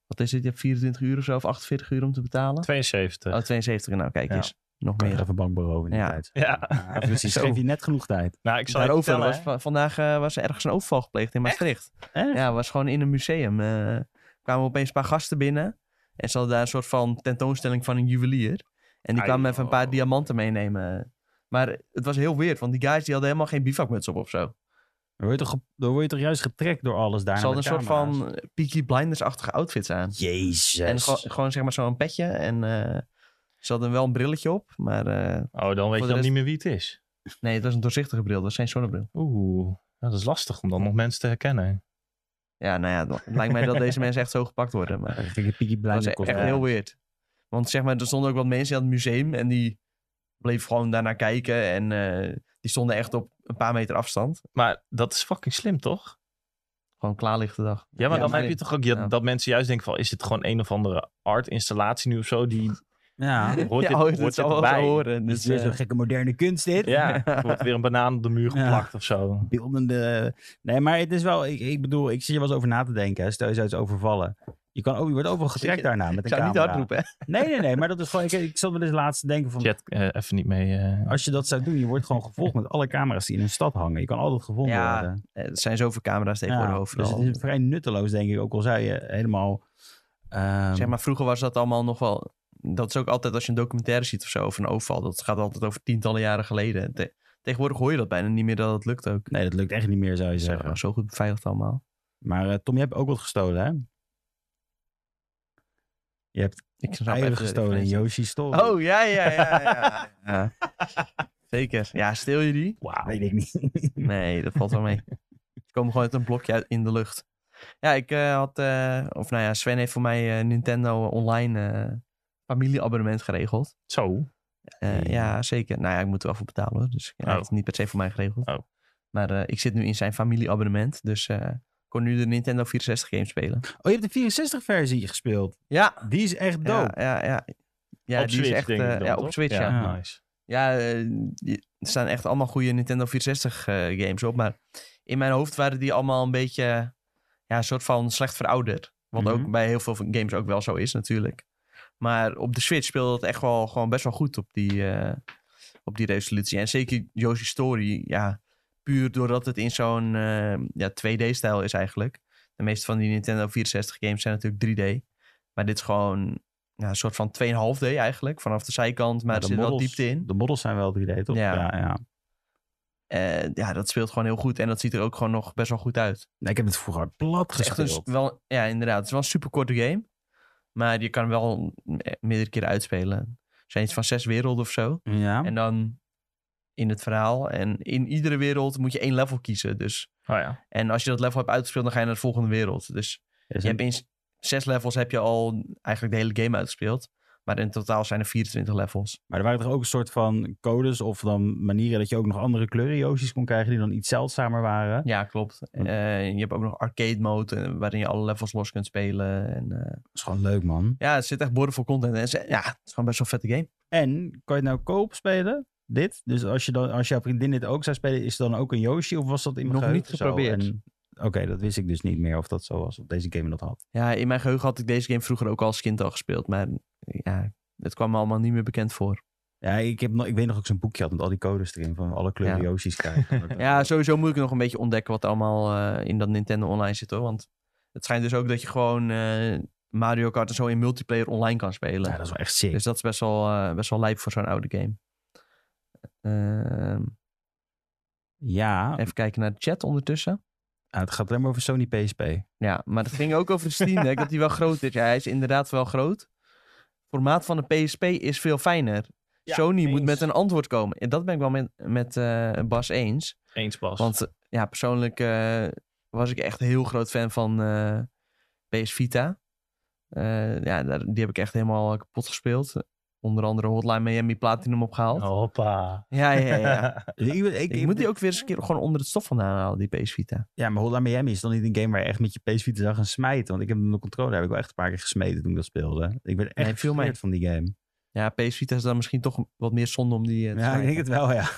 wat is het? Je hebt 24 uur of zo of 48 uur om te betalen.
72.
Oh, 72. Nou, kijk
Ja.
eens. Nog
Kan je
meer.
even bankbureau in die
Ja.
tijd.
Ja.
precies.
Zo.
Geef je net genoeg tijd.
Nou, ik zal je
Daarover
vertellen,
was
hè.
va- vandaag eh, was er ergens een overval gepleegd in Maastricht.
Echt?
Ja, was gewoon in een museum. eh, kwamen opeens een paar gasten binnen. En ze hadden daar een soort van tentoonstelling van een juwelier. En die
Ai,
kwamen even een paar
oh.
diamanten meenemen. Maar het was heel weird, want die guys die hadden helemaal geen bivakmuts op of zo.
Dan word je toch, ge- dan word je toch juist getrekt door alles daar.
Ze hadden
met
een soort
camera's?
van Peaky Blinders-achtige outfits aan.
Jezus.
En gewoon- gewoon zeg maar zo'n petje. En eh, ze hadden wel een brilletje op. Maar eh,
Oh, dan weet je
de
dan
rest-
niet meer wie het is.
nee, het was een doorzichtige bril. Dat was geen zonnebril.
Oeh, dat is lastig om dan nog mensen te herkennen.
Ja, nou ja, het lijkt mij dat deze mensen echt zo gepakt worden. Maar
Dan ging je Peaky
dat was
Blinders
echt
kosten.
heel weird. Want zeg maar, er stonden ook wat mensen aan het museum en die bleven gewoon daarnaar kijken. En eh, die stonden echt op een paar meter afstand.
Maar dat is fucking slim, toch?
Gewoon klaarlichte dag.
Ja, maar
Ja,
dan
maar
heb je
nee.
toch ook je-
Ja.
dat mensen juist denken van... is dit gewoon een of andere art-installatie nu of zo? Die
Ja,
ja,
hoort dit,
oh,
hoort
dat
dit
zou wel
erbij?
zo horen.
dus
Dus,
weer
eh,
zo'n gekke moderne kunst dit.
Ja, er wordt weer een banaan op de muur
Ja.
geplakt of zo.
Beeldende... Nee, maar het is wel... Ik, ik bedoel, ik zit je wel eens over na te denken. hè. Stel je zou het overvallen. Je, kan, ook- je wordt overal getrekt
je-
daarna met
ik
een
zou
camera.
niet hard roepen, hè?
Nee, nee, nee. Maar dat is gewoon... Ik, ik zat wel eens laatst te denken van...
Chat eh, even niet mee. eh.
Als je dat zou doen, je wordt gewoon gevolgd met alle camera's die in een stad hangen. Je kan altijd gevonden
Ja,
worden.
Eh, Er zijn zoveel camera's tegenwoordig
dus
overal.
het is vrij nutteloos, denk ik. Ook al zou je helemaal... ehm,
Zeg maar, vroeger was dat allemaal nog wel... Dat is ook altijd als je een documentaire ziet of zo over een overval. Dat gaat altijd over tientallen jaren geleden. Te- tegenwoordig hoor je dat bijna niet meer dat het lukt ook.
Nee, dat lukt echt niet meer, zou je
Ze zijn
zeggen.
gewoon zo goed beveiligd allemaal.
Maar eh, Tom, je hebt ook wat gestolen,
Nou,
hè? Je hebt
Ik snap
eieren
even-
gestolen in
even-
Yoshi's Story.
Oh, ja, ja, ja. ja. ja. Zeker. Ja, stil je die?
Wauw.
Weet ik niet.
Nee, dat valt wel mee. Ze komen gewoon uit een blokje uit in de lucht. Ja, ik eh, had... eh, of nou ja, Sven heeft voor mij eh, Nintendo online eh, familieabonnement geregeld.
Zo.
Eh, ja, zeker. Nou ja, ik moet er wel voor betalen hoor. Dus hij
Oh.
heeft het niet per se voor mij geregeld.
Oh.
Maar eh, ik zit nu in zijn familieabonnement. Dus eh, ik kon nu de Nintendo 64 game spelen.
Oh, je hebt de 64-versie gespeeld.
Ja,
Die is echt
ja,
dope.
ja. ja. Ja,
op
die
Switch
is echt
denk
eh,
ik dan,
ja,
toch?
op Switch. Ja, ja.
ja.
nice.
eh, die- er staan echt allemaal goede Nintendo 64 eh, games op. Maar in mijn hoofd waren die allemaal een beetje ja, een soort van slecht verouderd. Wat
Mhm.
ook bij heel veel van games ook wel zo is natuurlijk. Maar op de Switch speelde het echt wel gewoon best wel goed op die, eh, op die resolutie. En zeker Yoshi's Story, ja, puur doordat het in zo'n eh, ja, 2D-stijl is eigenlijk. De meeste van die Nintendo 64 games zijn natuurlijk 3D. Maar dit is gewoon ja, een soort van 2,5D eigenlijk, vanaf de zijkant. Maar
Ja, de
er zit wel
models-
diepte in.
De models zijn wel 3D, toch?
Ja.
ja, ja.
Eh, ja, dat speelt gewoon heel goed. En dat ziet er ook gewoon nog best wel goed uit.
Nee, ik heb het vroeger plat
Het is echt
gespeeld.
een, wel, ja, inderdaad. Het is wel een super korte game. Maar je kan hem wel me- meerdere keren uitspelen. Er zijn iets van zes werelden of zo.
Ja.
En dan in het verhaal. En in iedere wereld moet je één level kiezen. Dus.
Oh ja.
En als je dat level hebt uitgespeeld, dan ga je naar de volgende wereld. Dus
Er
je
zijn-
hebt in s- zes levels heb je al eigenlijk de hele game uitgespeeld. Maar in totaal zijn er 24 levels.
Maar er waren toch ook een soort van codes of dan manieren dat je ook nog andere kleuren Yoshi's kon krijgen die dan iets zeldzamer waren.
Ja, klopt.
Want-
Eh, je hebt ook nog arcade mode eh, waarin je alle levels los kunt spelen. En, eh,
Dat is gewoon leuk, man.
ja, er zit echt boordevol content. En ze- ja, het is gewoon best wel een vette game.
En kan je het nou koop spelen? Dit? Dus als, je dan, als jouw vriendin dit ook zou spelen, is het dan ook een Yoshi? Of was dat in mijn
Nog
geheugen
niet
zo?
geprobeerd.
En- Oké, dat wist ik dus niet meer of dat zo was, of deze game dat had.
Ja, in mijn geheugen had ik deze game vroeger ook al als kind al gespeeld. Maar ja, het kwam me allemaal niet meer bekend voor.
Ja, ik, heb nog, ik weet nog ook zo'n boekje had met al die codes erin van alle kleuren
Ja.
Yoshi's krijgen.
Ja, sowieso moet ik nog een beetje ontdekken wat er allemaal eh, in dat Nintendo Online zit hoor. Want het schijnt dus ook dat je gewoon eh, Mario Kart en zo in multiplayer online kan spelen.
Ja, dat is wel echt sick.
Dus dat is best wel, eh, best wel lijp voor zo'n oude game. Ehm,
ja,
even kijken naar de chat ondertussen.
ja, het gaat alleen maar over Sony PSP.
Ja, maar dat ging ook over de Steam Deck, dat die wel groot is. Ja, hij is inderdaad wel groot. formaat van de PSP is veel fijner.
Ja,
Sony moet
eens.
met een antwoord komen. En dat ben ik wel met, met eh, Bas eens.
Eens pas.
Want eh, ja, persoonlijk eh, was ik echt een heel groot fan van eh, PS Vita. Eh, ja, daar- die heb ik echt helemaal kapot gespeeld. Onder andere Hotline Miami Platinum opgehaald.
Oh. Hoppa.
Ja, ja, ja.
Ik, ik-
Ik, moet die ook weer eens een keer gewoon onder het stof vandaan halen, die PS Vita.
Ja, maar Hotline Miami is dan niet een game waar je echt met je PS Vita zou gaan smijten. Want ik heb hem de controller heb ik wel echt een paar keer gesmeten toen ik dat speelde. Ik ben echt
Nee, viel
gefrustreerd van die game.
Ja, PS Vita is dan misschien toch wat meer zonde om die eh, te
Ja, ik
smijten.
denk het wel, ja.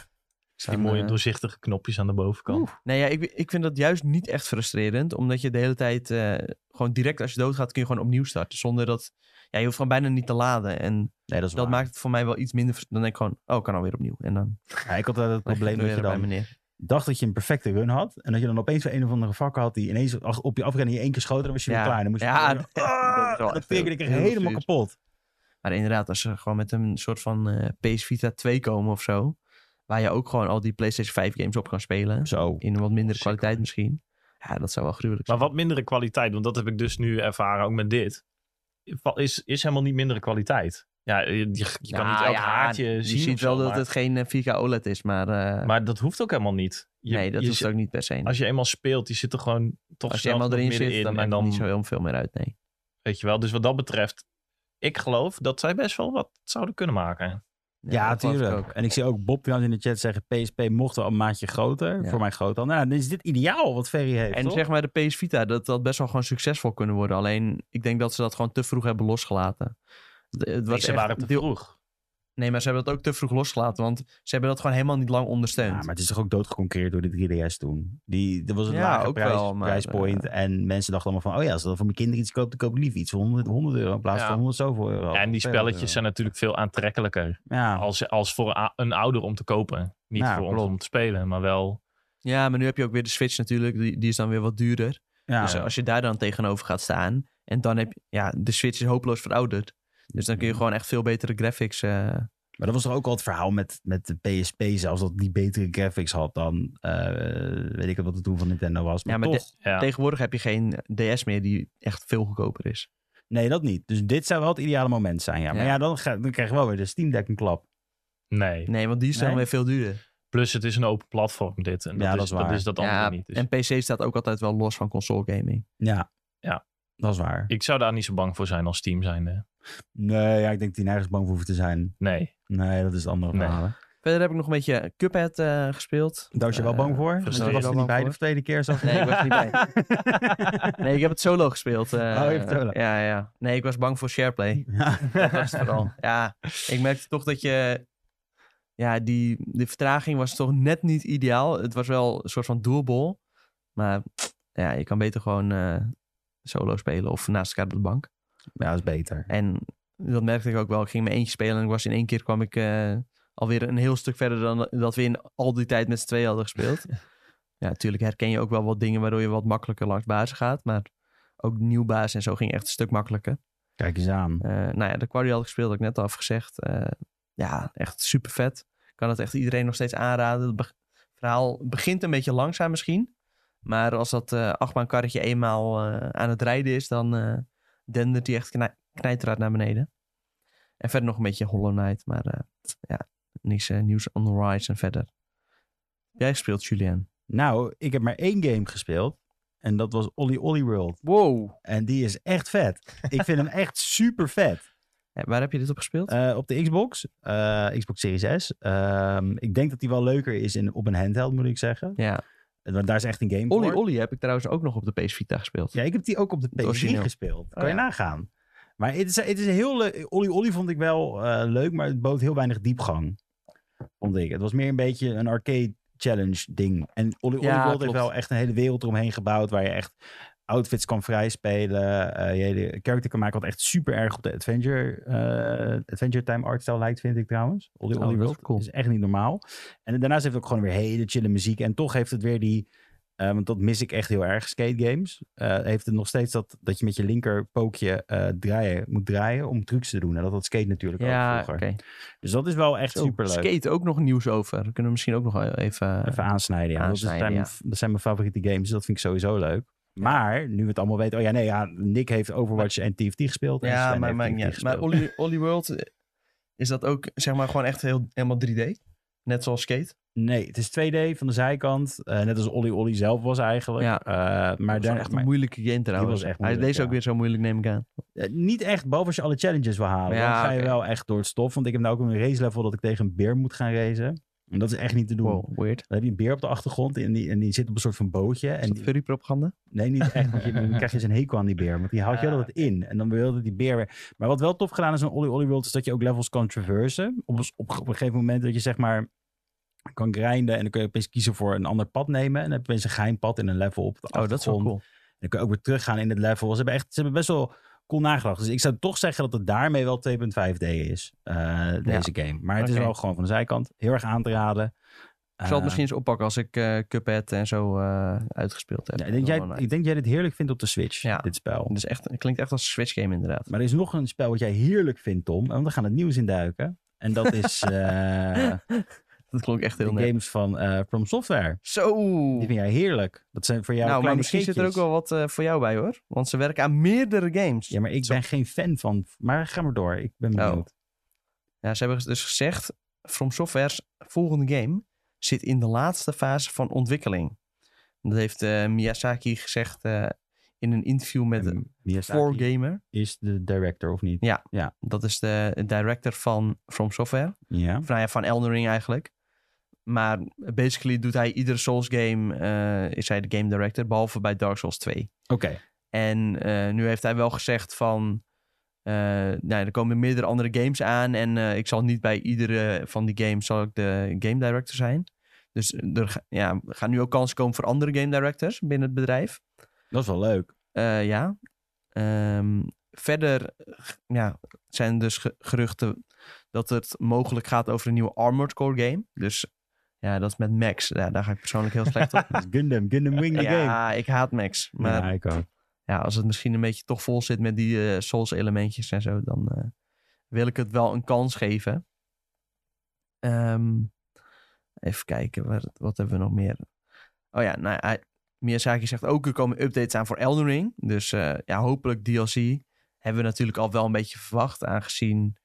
Die
Dan,
mooie
eh,
doorzichtige knopjes aan de bovenkant.
Nee, ja, ik, ik vind dat juist niet echt frustrerend. Omdat je de hele tijd eh, gewoon direct als je doodgaat kun je gewoon opnieuw starten. Zonder dat... Ja, je hoeft gewoon bijna niet te laden. En
Nee, dat is
dat
waar.
maakt het voor mij wel iets minder... frus- Dan denk ik gewoon, oh, ik kan alweer opnieuw. En dan
Ja, ik had wel het
leg ik
probleem
het
dat
weer
je
bij
dan
meneer.
dacht dat je een perfecte run had. En dat je dan opeens weer een of andere vakker had die ineens ach- op je afrennen je één keer schoot. En dan was je
Ja.
weer klaar. En dan moest je
Ja,
weer-
dat-
Ah!
dat is wel
En
echt
dat triggerde ik
heel-
er
heel
helemaal
zuur.
kapot.
Maar inderdaad, als ze gewoon met een soort van eh, PS Vita 2 komen of zo... Waar je ook gewoon al die PlayStation 5 games op kan spelen.
Zo.
In een wat mindere
Zeker.
kwaliteit misschien. Ja, dat zou wel gruwelijk
Maar
zijn.
wat mindere kwaliteit, want dat heb ik dus nu ervaren, ook met dit. Wa- Is, is helemaal niet mindere kwaliteit. Ja, je, je- je kan
Nou,
niet elk
ja,
haartje zien.
Je
of
ziet
zo,
wel dat
maar,
het geen eh, 4K OLED is, maar... eh,
maar dat hoeft ook helemaal niet. Je-
nee, dat
je
hoeft
zit-
ook niet per se.
Als je eenmaal speelt, die zit er gewoon toch
Als je
snel
helemaal
genoeg
erin
middenin.
zit, dan
en
maakt het
dan,
niet zo heel veel meer uit, nee.
weet je wel. Dus wat dat betreft ik geloof dat zij best wel wat zouden kunnen maken.
Ja,
dat geloof ik
tuurlijk.
ook.
en ik zie ook Bob trouwens in de chat zeggen... PSP mocht wel een maatje groter
Ja.
voor mijn groothandel. Nou, dan is dit ideaal wat Ferry heeft,
En
toch?
zeg maar de PS Vita, dat dat best wel gewoon succesvol kunnen worden. Alleen, ik denk dat ze dat gewoon te vroeg hebben losgelaten. De- het was
Nee, ze
echt
waren te
deel-
vroeg.
Nee, maar ze hebben dat ook te vroeg losgelaten, want ze hebben dat gewoon helemaal niet lang
Ja,
ondersteund.
maar het is toch ook doodgeconcureerd door de 3DS toen? Die, er was een
Ja,
lage
ook
prijs,
wel, maar, eh,
prijspoint. en mensen dachten allemaal van... oh ja, als ik dan voor mijn kinderen iets koop, dan koop ik liever iets voor 100, 100 euro... in plaats
Ja.
van 100 zoveel euro.
Oh,
en die
200 euro.
spelletjes zijn natuurlijk veel aantrekkelijker
Ja,
als, als voor a- een ouder om te kopen. Niet
Ja,
voor ons
klopt.
om te spelen, maar wel.
Ja, maar nu heb je ook weer de Switch natuurlijk. Die, die is dan weer wat duurder.
ja.
Dus als je daar dan tegenover gaat staan. En dan heb je... Ja, de Switch is hopeloos verouderd. Dus dan kun
Mm.
je gewoon echt veel betere graphics... eh,
Maar dat was toch ook al het verhaal met, met de PSP zelfs, dat die betere graphics had dan, eh, weet ik het wat het toen van Nintendo was. Maar,
Ja, maar
toch,
Ja.
Tegenwoordig heb je geen DS meer die echt veel goedkoper is.
nee dat niet. Dus dit zou wel het ideale moment zijn, ja. Maar
Ja.
ja, dan, ga, dan krijg je wel weer de Steam Deck een klap.
Nee.
Nee, want die is dan
Nee?
weer veel duurder.
Plus, het is een open platform, dit. En dat,
Ja,
is,
dat is
dat
waar.
is dat andere
Ja,
niet. Dus
en PC staat ook altijd wel los van console gaming.
Ja.
Ja.
Dat is waar.
ik zou daar niet zo bang voor zijn als team zijnde.
Nee, ja, ik denk dat die nergens bang voor hoeven te zijn.
Nee.
Nee, dat is het andere
Nee.
verhaal. hè.
Verder heb ik nog een beetje Cuphead eh, gespeeld.
Daar was je wel
Eh,
bang voor? Dus
frustrerend.
je was er
Wel
niet bij
bang
de
voor.
tweede keer. Zo.
Nee, ik was er niet bij. Nee, ik heb het solo gespeeld. eh.
Oh, je hebt solo.
Ja, ja. Nee, ik was bang voor shareplay.
Ja.
Dat was het vooral. Ja, ik merkte toch dat je... Ja, die, de vertraging was toch net niet ideaal. Het was wel een soort van doelbol. Maar ja, je kan beter gewoon eh, solo spelen of naast elkaar op de bank.
ja, dat is beter.
En dat merkte ik ook wel. Ik ging mijn eentje spelen en ik was in één keer kwam ik eh, alweer een heel stuk verder dan dat we in al die tijd met z'n tweeën hadden gespeeld. ja, natuurlijk herken je ook wel wat dingen waardoor je wat makkelijker langs bazen gaat. Maar ook nieuw baas en zo ging echt een stuk makkelijker.
Kijk eens aan.
Eh, nou ja, de Quarry had ik gespeeld, had ik net al gezegd. Eh, ja, echt super vet. Kan het echt iedereen nog steeds aanraden. Het be- verhaal begint een beetje langzaam misschien. Maar als dat eh achtbaankarretje eenmaal eh, aan het rijden is, dan eh dendert hij echt knij knijteraad naar beneden. En verder nog een beetje Hollow Knight, maar eh, ja, niks eh, nieuws on the horizon verder. Jij gespeeld, Julian.
Nou, ik heb maar één game gespeeld. En dat was Olly Olly World.
Wow.
En die is echt vet. Ik vind hem echt super vet.
waar heb je dit op gespeeld?
Eh, op de Xbox, eh, Xbox Series S. Ehm, ik denk dat die wel leuker is in, op een handheld, moet ik zeggen. Eh,
ja.
Want daar is echt een game
Olly
voor.
Olly heb ik trouwens ook nog op de PS Vita gespeeld.
Ja, ik heb die ook op de PS3
origineel.
gespeeld. Kan
Oh,
je
ja.
nagaan. Maar het is, het is een heel leuk. Olly Olly vond ik wel eh, leuk, maar het bood heel weinig diepgang. Vond ik. Het was meer een beetje een arcade challenge ding. En Olly Olly
Ja,
World heeft
klopt.
wel echt een hele wereld eromheen gebouwd waar je echt outfits kan vrijspelen. eh je hele character kan maken wat echt super erg op de Adventure, eh, Adventure Time artstyle lijkt, vind ik trouwens. Olly
Oh,
Olly
dat is
World
cool.
is echt niet normaal. En daarnaast heeft het ook gewoon weer hele chille muziek. En toch heeft het weer die... eh, want dat mis ik echt heel erg, skate games. eh, heeft het nog steeds dat, dat je met je linker pookje eh, draaien, moet draaien om trucs te doen. En dat had skate natuurlijk ook
Ja, oké.
vroeger. Dus dat is wel echt
Zo,
superleuk.
Skate ook nog nieuws over. Daar kunnen we misschien ook nog wel even... eh,
Even aansnijden, ja.
aansnijden,
dat, is-
ja.
zijn, mijn- dat zijn mijn favoriete games, dus dat vind ik sowieso leuk. Maar, nu we het allemaal weten... Oh ja, nee, ja, Nick heeft Overwatch en TFT gespeeld. en Sven
ja, maar
heeft
maakt
TFT
niet uit. Maar
gespeeld.
Olly, Olly World, eh, is dat ook zeg maar gewoon echt heel, helemaal 3D? Net zoals Skate?
Nee, het is 2D van de zijkant. eh, net als Olly Olly zelf was eigenlijk.
Ja.
Eh, maar
Maar dat
daar,
is echt
maar-
een moeilijke game trouwens.
was echt
Hij is
moeilijk,
deze
ja.
ook weer zo moeilijk, neem ik aan.
Eh, niet echt, behalve als je alle challenges wil halen.
Ja,
dan ga je
oké.
wel echt door het stof. Want ik heb nou ook een race level dat ik tegen een beer moet gaan racen. En dat is echt niet te doen.
Wow, weird.
Dan heb je een beer op de achtergrond en die, en die zit op een soort van bootje. En
Is dat
die- Oh,
furry propaganda?
nee, niet echt. Want je, dan krijg je eens een hekel aan die beer. Want die houdt je
Ah.
altijd in. En dan wilde die beer weer... Maar wat wel tof gedaan is aan Olly Olly World... is dat je ook levels kan traversen. Op, een- op, op een gegeven moment dat je zeg maar kan grinden... en dan kun je opeens kiezen voor een ander pad nemen. En dan heb je opeens een geheim pad in een level op de
Oh, dat is wel
achtergrond.
cool.
En dan kun je ook weer teruggaan in het level. Ze hebben, echt, ze hebben best wel cool nagedacht. Dus ik zou toch zeggen dat het daarmee wel 2.5D is, eh, deze game. Maar het is
Oké.
wel gewoon van de zijkant. Heel erg aan te raden.
Ik zal het
Eh,
misschien eens oppakken als ik eh Cuphead en zo eh, uitgespeeld heb.
ja, ik, denk jij,
Oh, nee.
ik denk jij dit heerlijk vindt op de Switch,
Ja.
dit spel.
Het is echt, het klinkt echt als een Switch game inderdaad.
Maar er is nog een spel wat jij heerlijk vindt, Tom. En we gaan het nieuws induiken. En dat is eh,
Dat klonk echt
de
heel net.
games van eh, From Software.
Zo!
Die vind jij heerlijk. Dat zijn voor jou
nou, maar
kleine
misschien zit er ook
keetjes.
wel wat eh, voor jou bij hoor. Want ze werken aan meerdere games.
Ja, maar ik ben geen fan van... Maar ga maar door. Ik ben
Oh.
benieuwd.
Ja, ze hebben dus gezegd, From Software's volgende game zit in de laatste fase van ontwikkeling. Dat heeft eh, Miyazaki gezegd eh, in een interview met een
Miyazaki
Gamer.
is de director, of niet?
Dat is de director van From Software.
Ja.
Of nou ja, van Elden Ring eigenlijk. Maar basically doet hij iedere Souls game, eh, is hij de game director, behalve bij Dark Souls 2.
Oké.
En eh, nu heeft hij wel gezegd van, eh, nou, ja, er komen meerdere andere games aan en eh, ik zal niet bij iedere van die games zal ik de game director zijn. Dus er ga- ja, gaan nu ook kansen komen voor andere game directors binnen het bedrijf.
Dat is wel leuk.
Eh, ja. Ehm, verder g- ja, zijn dus ge- geruchten dat het mogelijk gaat over een nieuwe Armored Core game. Dus ja, dat is met Max. Ja, daar ga ik persoonlijk heel slecht op.
Dat is Gundam. Gundam Wing the Game.
ja, ik haat Max. Maar
ja,
ja.
ik ook.
als het misschien een beetje toch vol zit met die eh, Souls-elementjes en zo, dan eh, wil ik het wel een kans geven. Ehm, even kijken, wat, wat hebben we nog meer? Oh ja, nou, hij, Miyazaki zegt ook, er komen updates aan voor Elden Ring. Dus eh, ja, hopelijk DLC. Hebben we natuurlijk al wel een beetje verwacht, aangezien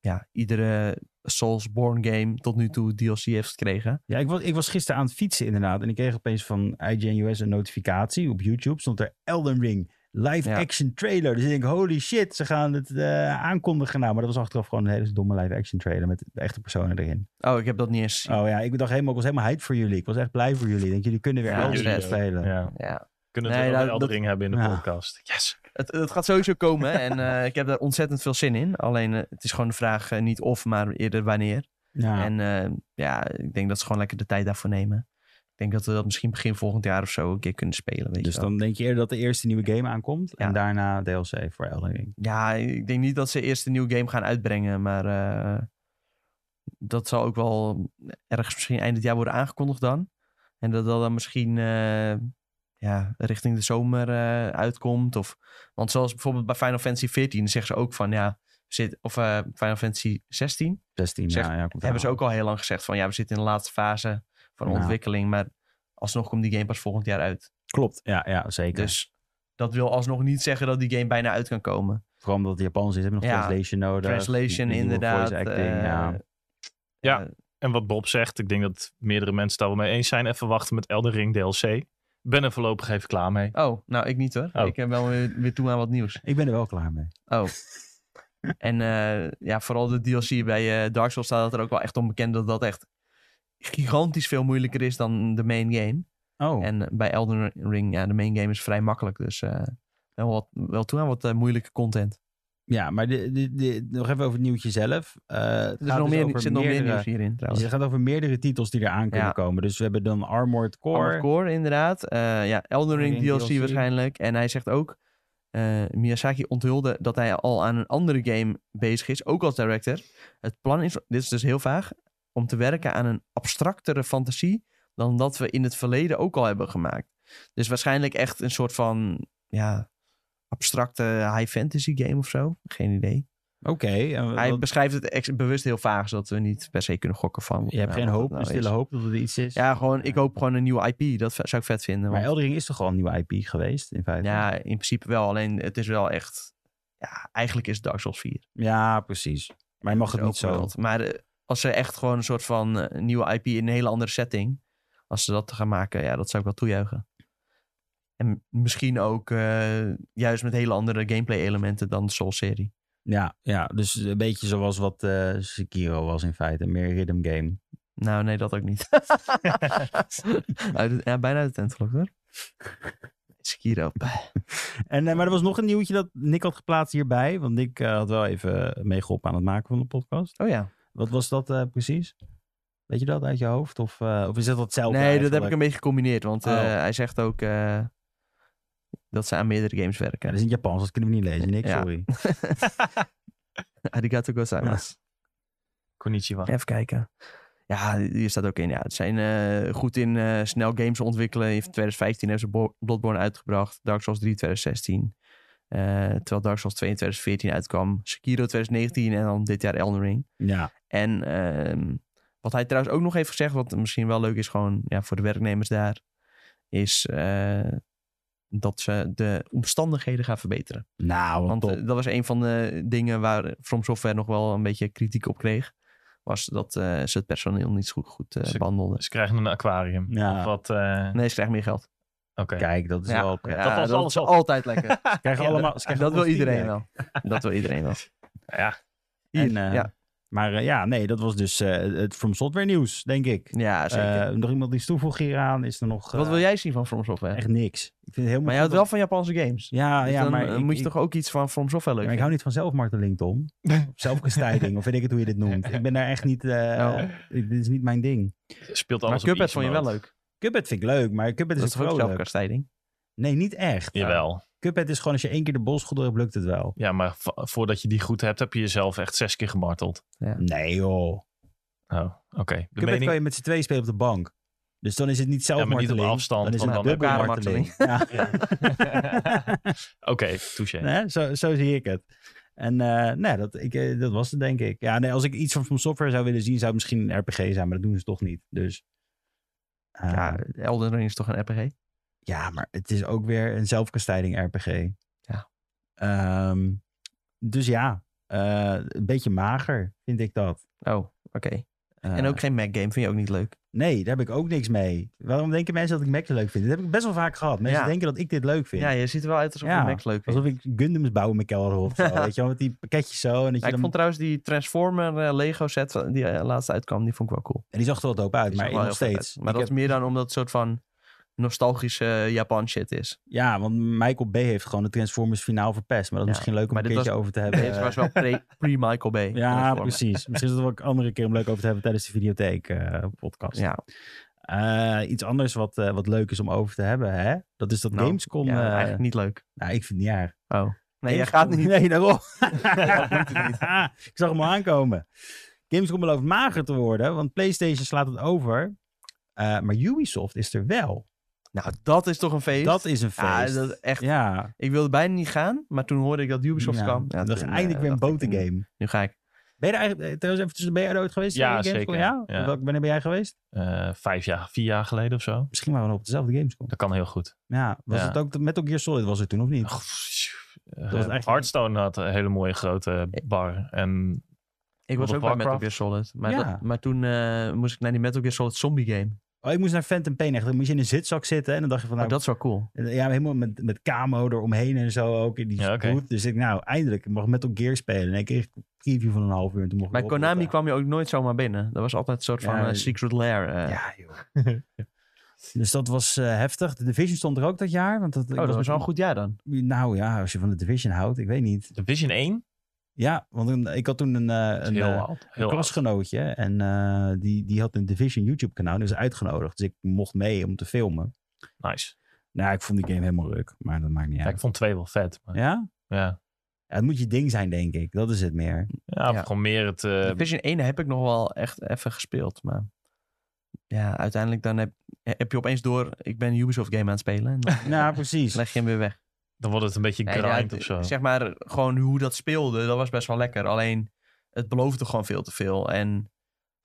ja, iedere Soulsborne game tot nu toe DLC heeft gekregen.
Ja, ik was, ik was gisteren aan het fietsen inderdaad. En ik kreeg opeens van IGN US een notificatie op YouTube. Stond er Elden Ring live
Ja.
action trailer. Dus ik denk, holy shit, ze gaan het eh, aankondigen nou. Maar dat was achteraf gewoon een hele domme live action trailer met de echte personen erin.
Oh, ik heb dat niet eens. gezien.
Oh ja, ik dacht helemaal, ik was helemaal hyped voor jullie. Ik was echt blij voor jullie. Ik denk, jullie kunnen weer
Ja,
Elden Ring
jullie
ook.
spelen.
Ja.
Ja,
Kunnen we
Nee,
het
nou,
over
dat-
Elden Ring hebben in de
Ja.
podcast. Yes.
Het, het gaat sowieso komen en eh, ik heb daar ontzettend veel zin in. Alleen eh, het is gewoon de vraag eh, niet of, maar eerder wanneer.
Ja.
En eh, ja, ik denk dat ze gewoon lekker de tijd daarvoor nemen. Ik denk dat we dat misschien begin volgend jaar of zo een keer kunnen spelen. Weet
Dus
je wel.
dan denk je eerder dat de eerste nieuwe game aankomt.
Ja.
En daarna DLC voor Elden Ring.
Ja, ik denk niet dat ze eerst een nieuwe game gaan uitbrengen, maar eh, dat zal ook wel ergens misschien eind dit jaar worden aangekondigd dan. En dat dat dan misschien eh, ja, richting de zomer eh, uitkomt. Of, want zoals bijvoorbeeld bij Final Fantasy 14 zeggen ze ook van ja, we zitten, of eh, Final Fantasy 16
16,
Zeg,
ja, ja, komt
hebben ze
eraan.
ook al heel lang gezegd van ja, we zitten in de laatste fase van
Ja.
ontwikkeling, maar alsnog komt die game pas volgend jaar uit.
Klopt, ja, ja zeker.
Dus dat wil alsnog niet zeggen dat die game bijna uit kan komen.
Vooral omdat het Japans is, hebben we nog
Ja.
translation nodig.
Translation,
Die nieuwe
inderdaad.
Voice acting,
eh,
ja.
Ja.
eh,
En wat Bob zegt, ik denk dat meerdere mensen daar wel mee eens zijn. Even wachten met Elden Ring DLC. Ik Ben er voorlopig even klaar mee.
oh, nou, ik niet hoor.
Oh.
Ik heb wel weer, weer toe aan wat nieuws.
Ik ben er wel klaar mee.
Oh. en eh, ja, vooral de DLC bij eh, Dark Souls staat het er ook wel echt onbekend dat dat echt gigantisch veel moeilijker is dan de main game.
Oh,
En bij Elden Ring, ja, de main game is vrij makkelijk. Dus eh, wel, wat, wel toe aan wat eh, moeilijke content.
ja, maar de, de, de- nog even over het nieuwtje zelf. Eh, het
Er is
gaat
nog
dus
meer,
over
zit nog meer
meerdere- dus
nieuws hierin trouwens.
Het gaat over meerdere titels die eraan kunnen
Ja.
komen. Dus we hebben dan Armored Core.
Armored Core, inderdaad. Eh, ja, Elden Ring,
Ring
DLC,
DLC.
waarschijnlijk. En hij zegt ook, eh, Miyazaki onthulde dat hij al aan een andere game bezig is, ook als director. Het plan is, dit is dus heel vaag, om te werken aan een abstractere fantasie dan dat we in het verleden ook al hebben gemaakt. Dus waarschijnlijk echt een soort van, ja, abstracte high fantasy game of zo. Geen idee.
Oké. en
Hij
wat-
beschrijft het ex- bewust heel vaag, zodat we niet per se kunnen gokken van...
je hebt
nou,
geen
wat het
hoop,
nou
een stille
is.
hoop dat er iets is.
Ja, gewoon, ik hoop gewoon een nieuwe IP. Dat v- zou ik vet vinden.
Maar
want-
Eldering is toch al een nieuwe IP geweest, in feite?
Ja, in principe wel. Alleen het is wel echt... Ja, eigenlijk is het Dark Souls 4.
Ja, precies. Maar je mag het
Ook
niet zo.
wel. Maar eh, als ze echt gewoon een soort van eh, nieuwe IP in een hele andere setting... Als ze dat gaan maken, ja, dat zou ik wel toejuichen. En misschien ook eh, juist met hele andere gameplay elementen dan de Souls-serie.
Ja, ja, dus een beetje zoals wat eh, Sekiro was in feite. Meer rhythm game.
Nou, nee, dat ook niet. Uit het- ja, bijna uit de tent gelokt, hoor. Sekiro.
En, eh, maar er was nog een nieuwtje dat Nick had geplaatst hierbij. Want Nick eh, had wel even meegeholpen aan het maken van de podcast.
Oh ja.
Wat was dat eh, precies? Weet je dat uit je hoofd? Of, eh, of is dat hetzelfde
Nee, dat heb ik
eigenlijk?
een beetje gecombineerd. Want eh,
Oh.
hij zegt ook eh, dat ze aan meerdere games
Ja,
werken.
dat is in het Japans, dat kunnen we niet lezen. Nick,
Ja.
sorry.
Arigato gozaimasu.
Konnichiwa.
Even kijken. Ja, hier staat ook in. Ja, het zijn eh, goed in eh, snel games ontwikkelen. In 2015 hebben ze Bo- Bloodborne uitgebracht. Dark Souls 3 2016. Eh, terwijl Dark Souls 2 in 2014 uitkwam. Sekiro 2019 en dan dit jaar Elden Ring.
Ja,
En ehm, wat hij trouwens ook nog heeft gezegd, wat misschien wel leuk is gewoon ja, voor de werknemers daar, is eh, dat ze de omstandigheden gaan verbeteren.
nou, wat
Want
top.
eh, dat was een van de dingen waar eh, From Software nog wel een beetje kritiek op kreeg, was dat eh, ze het personeel niet zo goed, goed eh,
Ze-
behandelden.
Ze krijgen een aquarium.
Ja.
Of wat... eh,
Nee, ze krijgen meer geld.
Oké.
Nou. Kijk, dat is
eh, Ja,
wel prettig.
ja,
valt
dat
alles
is
op.
altijd lekker.
Ze krijgen
Ja,
allemaal, ze krijgen
dat wil
allemaal
iedereen
feedback.
wel. Dat wil iedereen wel.
Ja,
Hier,
En, eh,
ja.
Maar eh, ja, nee, dat was dus eh, het From Software nieuws, denk ik.
ja, zeker.
Eh, nog iemand die toevoegt hieraan? Is er nog
Wat
eh,
wil jij zien van From Software?
echt niks? Ik vind het helemaal
maar jij houdt wel van Japanse games.
Ja,
Dus
ja
dan
maar
eh,
ik-
moet je
ik-
toch ook iets van From Software leuk
Maar ik
vinden?
hou niet van zelfmarteling, Tom. Of Zelfkastijding, of weet ik het hoe je dit noemt. Ik ben daar echt niet... eh,
Nou.
ik- dit is niet mijn ding.
speelt
Maar
alles op
Cuphead
easy
vond je wel
mode.
leuk.
Cuphead vind ik leuk, maar Cuphead is,
Dat is
ook
toch ook
vrolijk.
zelfkastijding?
Nee, niet echt.
Jawel.
Cuphead is gewoon als je één keer de bolschool hebt, lukt het wel.
Ja, maar vo- voordat je die goed hebt, heb je jezelf echt zes keer gemarteld.
Nee joh.
Oh, oké. De
Cuphead kan
mening...
je met z'n twee spelen op de bank. Dus dan is het niet
maar niet op
zelfmarteling.
afstand,
Dan is
want
het
dan-
dubbelmarteling. Ja.
Oké, touché.
Nee, zo, zo zie ik het. En eh, nee, dat, ik, eh, dat was het denk ik. Ja, nee, als ik iets van From Software zou willen zien, zou het misschien een RPG zijn. Maar dat doen ze toch niet. Dus eh,
Ja, Elden Ring is toch een RPG?
Ja, maar het is ook weer een zelfkastijding RPG.
Ja.
Ehm, dus ja, eh, een beetje mager vind ik dat.
Oh, oké.
Eh,
En ook geen Mac game vind je ook niet leuk.
Nee, daar heb ik ook niks mee. Waarom denken mensen dat ik Mac leuk vind? Dat heb ik best wel vaak gehad. Mensen
Ja.
denken dat ik dit leuk vind.
Ja, je ziet er wel uit alsof
Ja,
je Macs leuk vindt.
Alsof ik Gundams bouw in mijn kelder of zo. weet je wel, met die pakketjes zo. En, dat je
Ja, ik
dan...
vond trouwens die Transformer eh, Lego set die eh, laatst uitkwam, die vond ik wel cool.
en die zag er wel dope uit,
Die
maar
zag wel
nog
heel vet
steeds.
uit. Maar
Ik
dat
heb-
is meer dan omdat het een soort van nostalgische Japan shit is.
Ja, want Michael B. heeft gewoon de Transformers finaal verpest. Maar dat is
Ja,
misschien leuk om
maar
een
dit
keertje over te hebben.
Dit was wel pre- pre-Michael Bay.
Eh, Ja,
Transformer.
precies. Misschien is het ook een andere keer om leuk over te hebben tijdens de videotheek eh, podcast.
Ja,
Eh, iets anders wat, eh, wat leuk is om over te hebben, hè? Dat is dat
Nou,
Gamescom.
ja,
eh,
eigenlijk niet leuk.
nou, ik vind het niet erg.
Oh. Nee, jij
Gamescom-
gaat niet.
Nee, daarom.
moet het
ik zag hem al aankomen. Gamescom belooft mager te worden, want PlayStation slaat het over. Eh, maar Ubisoft is er wel.
Nou, dat is toch een feest.
Dat is een
Ja,
feest. Ja,
dat is echt. Ik wilde bijna niet gaan, maar toen hoorde ik dat Ubisoft
Ja.
kwam. Ja,
dat is
toen, eh,
eindelijk weer een
dacht ik, hm,
botengame.
Nu ga ik.
Ben je er eigenlijk, eh, trouwens even tussen, ben jij er ooit geweest?
Ja,
bij Gamescom?
zeker.
Ja?
Ja.
Welk- wanneer ben jij geweest?
Eh, vijf jaar, vier jaar geleden of zo.
Misschien waren we nog op dezelfde Gamescom.
Dat kan heel goed.
Ja, was
Ja.
het ook met Metal Gear Solid was er toen of niet?
Oh, pff, eh,
was eigenlijk-
Hearthstone had een hele mooie grote bar. En
Ik was
World of
ook bij Metal
Warcraft.
Gear Solid. Maar,
Ja.
dat- maar toen eh, moest ik naar die Metal Gear Solid zombie game.
Oh, ik moest naar Phantom Pain echt. Dan moest je in een zitzak zitten. En dan dacht je van,
Maar
nou,
dat is wel cool.
ja, helemaal met, met camo eromheen en zo ook. In die
Ja, oké.
booth. Dus ik, nou, eindelijk, ik mag Metal Gear spelen. En ik kreeg een preview van een half uur. En toen mocht
Bij
ik
Konami
opletten.
kwam je ook nooit zomaar binnen. Dat was altijd een soort van
Ja,
eh, secret lair. eh.
Ja, joh. dus dat was eh, heftig. De Division stond er ook dat jaar. Want dat, ik
Oh, dat
was
was wel een goed jaar dan.
Nou ja, als je van de Division houdt, ik weet niet.
Division 1?
Ja, want een- ik had toen een, eh, een,
Heel
eh,
oud.
een
Heel
klasgenootje. En eh, die, die had een Division YouTube kanaal. Die was uitgenodigd. Dus ik mocht mee om te filmen.
oud. Nice.
Nou, ik vond die game helemaal ruk. Maar dat maakt niet
Ja,
uit.
ik vond twee wel vet. Maar, ja.
Ja?
Ja.
Ja, het moet je ding zijn, denk ik. Dat is het meer.
of
Ja.
gewoon meer het...
Ehm,
eh,
Division 1 heb ik nog wel echt even gespeeld. Maar ja, uiteindelijk dan heb, heb je opeens door... Ik ben een Ubisoft game aan het spelen. En dan
Nou, precies.
leg je hem weer weg.
dan wordt het een beetje
Nee,
grind
ja,
of zo.
Zeg maar, gewoon hoe dat speelde, dat was best wel lekker. Alleen, het beloofde gewoon veel te veel. En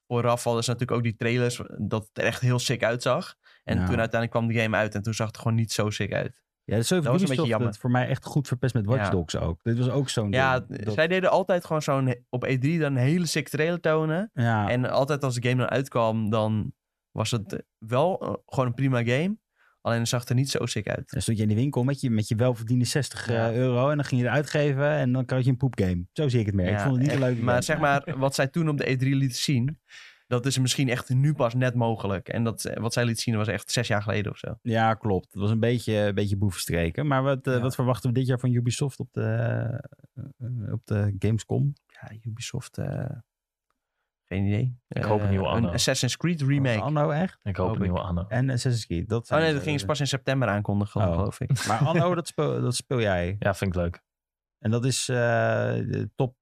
vooraf hadden ze natuurlijk ook die trailers, dat het er echt heel sick uitzag. En
Ja.
toen uiteindelijk kwam de game uit en toen zag het gewoon niet zo sick uit.
Ja, dat is zo
was een beetje
Ubisoft
jammer.
het voor mij echt goed verpest met Watch
Ja.
Dogs ook. Dit was ook zo'n
Ja, eh,
ding. Dat-
zij deden altijd gewoon zo'n, he- op E3 dan een hele sick trailer tonen.
ja.
En altijd als de game dan uitkwam, dan was het eh, wel eh, gewoon een prima game. Alleen het zag het er niet zo sick uit.
Dan stond je in de winkel met je, met je welverdiende 60 eh,
Ja.
euro en dan ging je het uitgeven en dan had je een poepgame. Zo zie ik het meer. ik
Ja,
vond het niet
echt.
een leuk.
Maar zeg maar, wat zij toen op de E3 lieten zien, dat is misschien echt nu pas net mogelijk. En dat, eh, wat zij liet zien was echt zes jaar geleden of zo.
Ja, klopt. Het was een beetje, een beetje boevenstreken. Maar wat, eh,
Ja.
wat verwachten we dit jaar van Ubisoft op de, eh, op de Gamescom?
Ja, Ubisoft, eh, geen idee.
Ik hoop een
Eh,
nieuwe Anno.
Een Assassin's Creed remake. Oh
Anno echt?
ik hoop
hoop
een nieuwe Anno.
En Assassin's Creed. Dat zijn
nee,
ze-
dat gingen ze pas in september aankondigen,
Oh.
geloof ik.
Maar Anno, dat speel, dat speel jij.
Ja, vind ik leuk.
En dat is eh, de top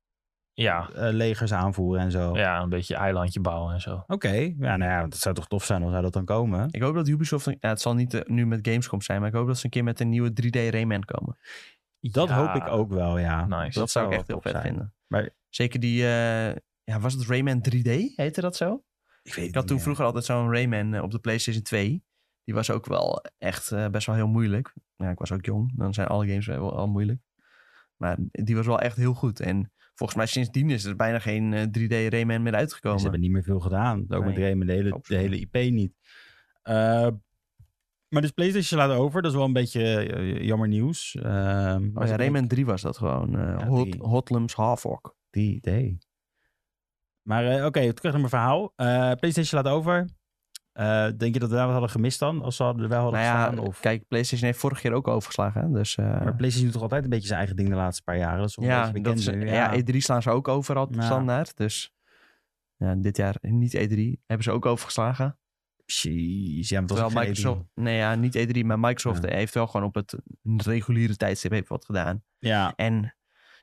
Ja.
eh, legers aanvoeren en zo.
ja, een beetje eilandje bouwen en zo.
Oké, ja, nou ja, dat zou toch tof zijn als zou dat dan komen.
Ik hoop dat Ubisoft, ja, het zal niet eh, nu met Gamescom zijn, maar ik hoop dat ze een keer met een nieuwe 3D Rayman komen.
Dat
Ja.
hoop ik ook wel, ja.
Nice.
Dat, zou ik
wel
echt heel
top
vet
zijn.
vinden.
Maar-
Zeker die, eh, ja, was het Rayman 3D? Heette dat zo?
Ik weet
Ik had toen vroeger altijd zo'n Rayman eh, op de PlayStation 2. Die was ook wel echt eh, best wel heel moeilijk. Ja, ik was ook jong. Dan zijn alle games wel al moeilijk. Maar die was wel echt heel goed. En volgens mij sindsdien is er bijna geen eh, 3D Rayman meer
Ze
uitgekomen.
hebben niet meer veel gedaan. Ook
Nee.
met Rayman, de hele,
Absoluut.
de hele IP niet. Eh, Maar dus PlayStation laat over. Dat is wel een beetje eh, jammer nieuws. Ehm
Oh ja, Rayman 3 was dat gewoon. eh
Ja,
Hot,
die-
Hotlums Havok.
Die idee. Maar eh, oké, terug naar mijn verhaal. Eh, PlayStation laat over. Eh, denk je dat we daar wat hadden gemist dan? Als ze hadden er wel hadden
Nou ja,
gestaan? Of...
kijk, PlayStation heeft vorig jaar ook overgeslagen. hè, Dus, eh,
Maar PlayStation doet toch altijd een beetje zijn eigen ding de laatste paar jaren? Dat is wel een
ja,
beetje
dat
bekend
is,
nu,
ja. E3 slaan ze ook overal
Ja.
standaard. Dus ja, dit jaar niet E3 hebben ze ook overgeslagen.
Jeez, ja, maar het was
Terwijl
ook geen
Microsoft,
E3.
nee ja, niet E3, maar Microsoft
Ja.
heeft wel gewoon op het reguliere tijdstip heeft wat gedaan.
Ja,
En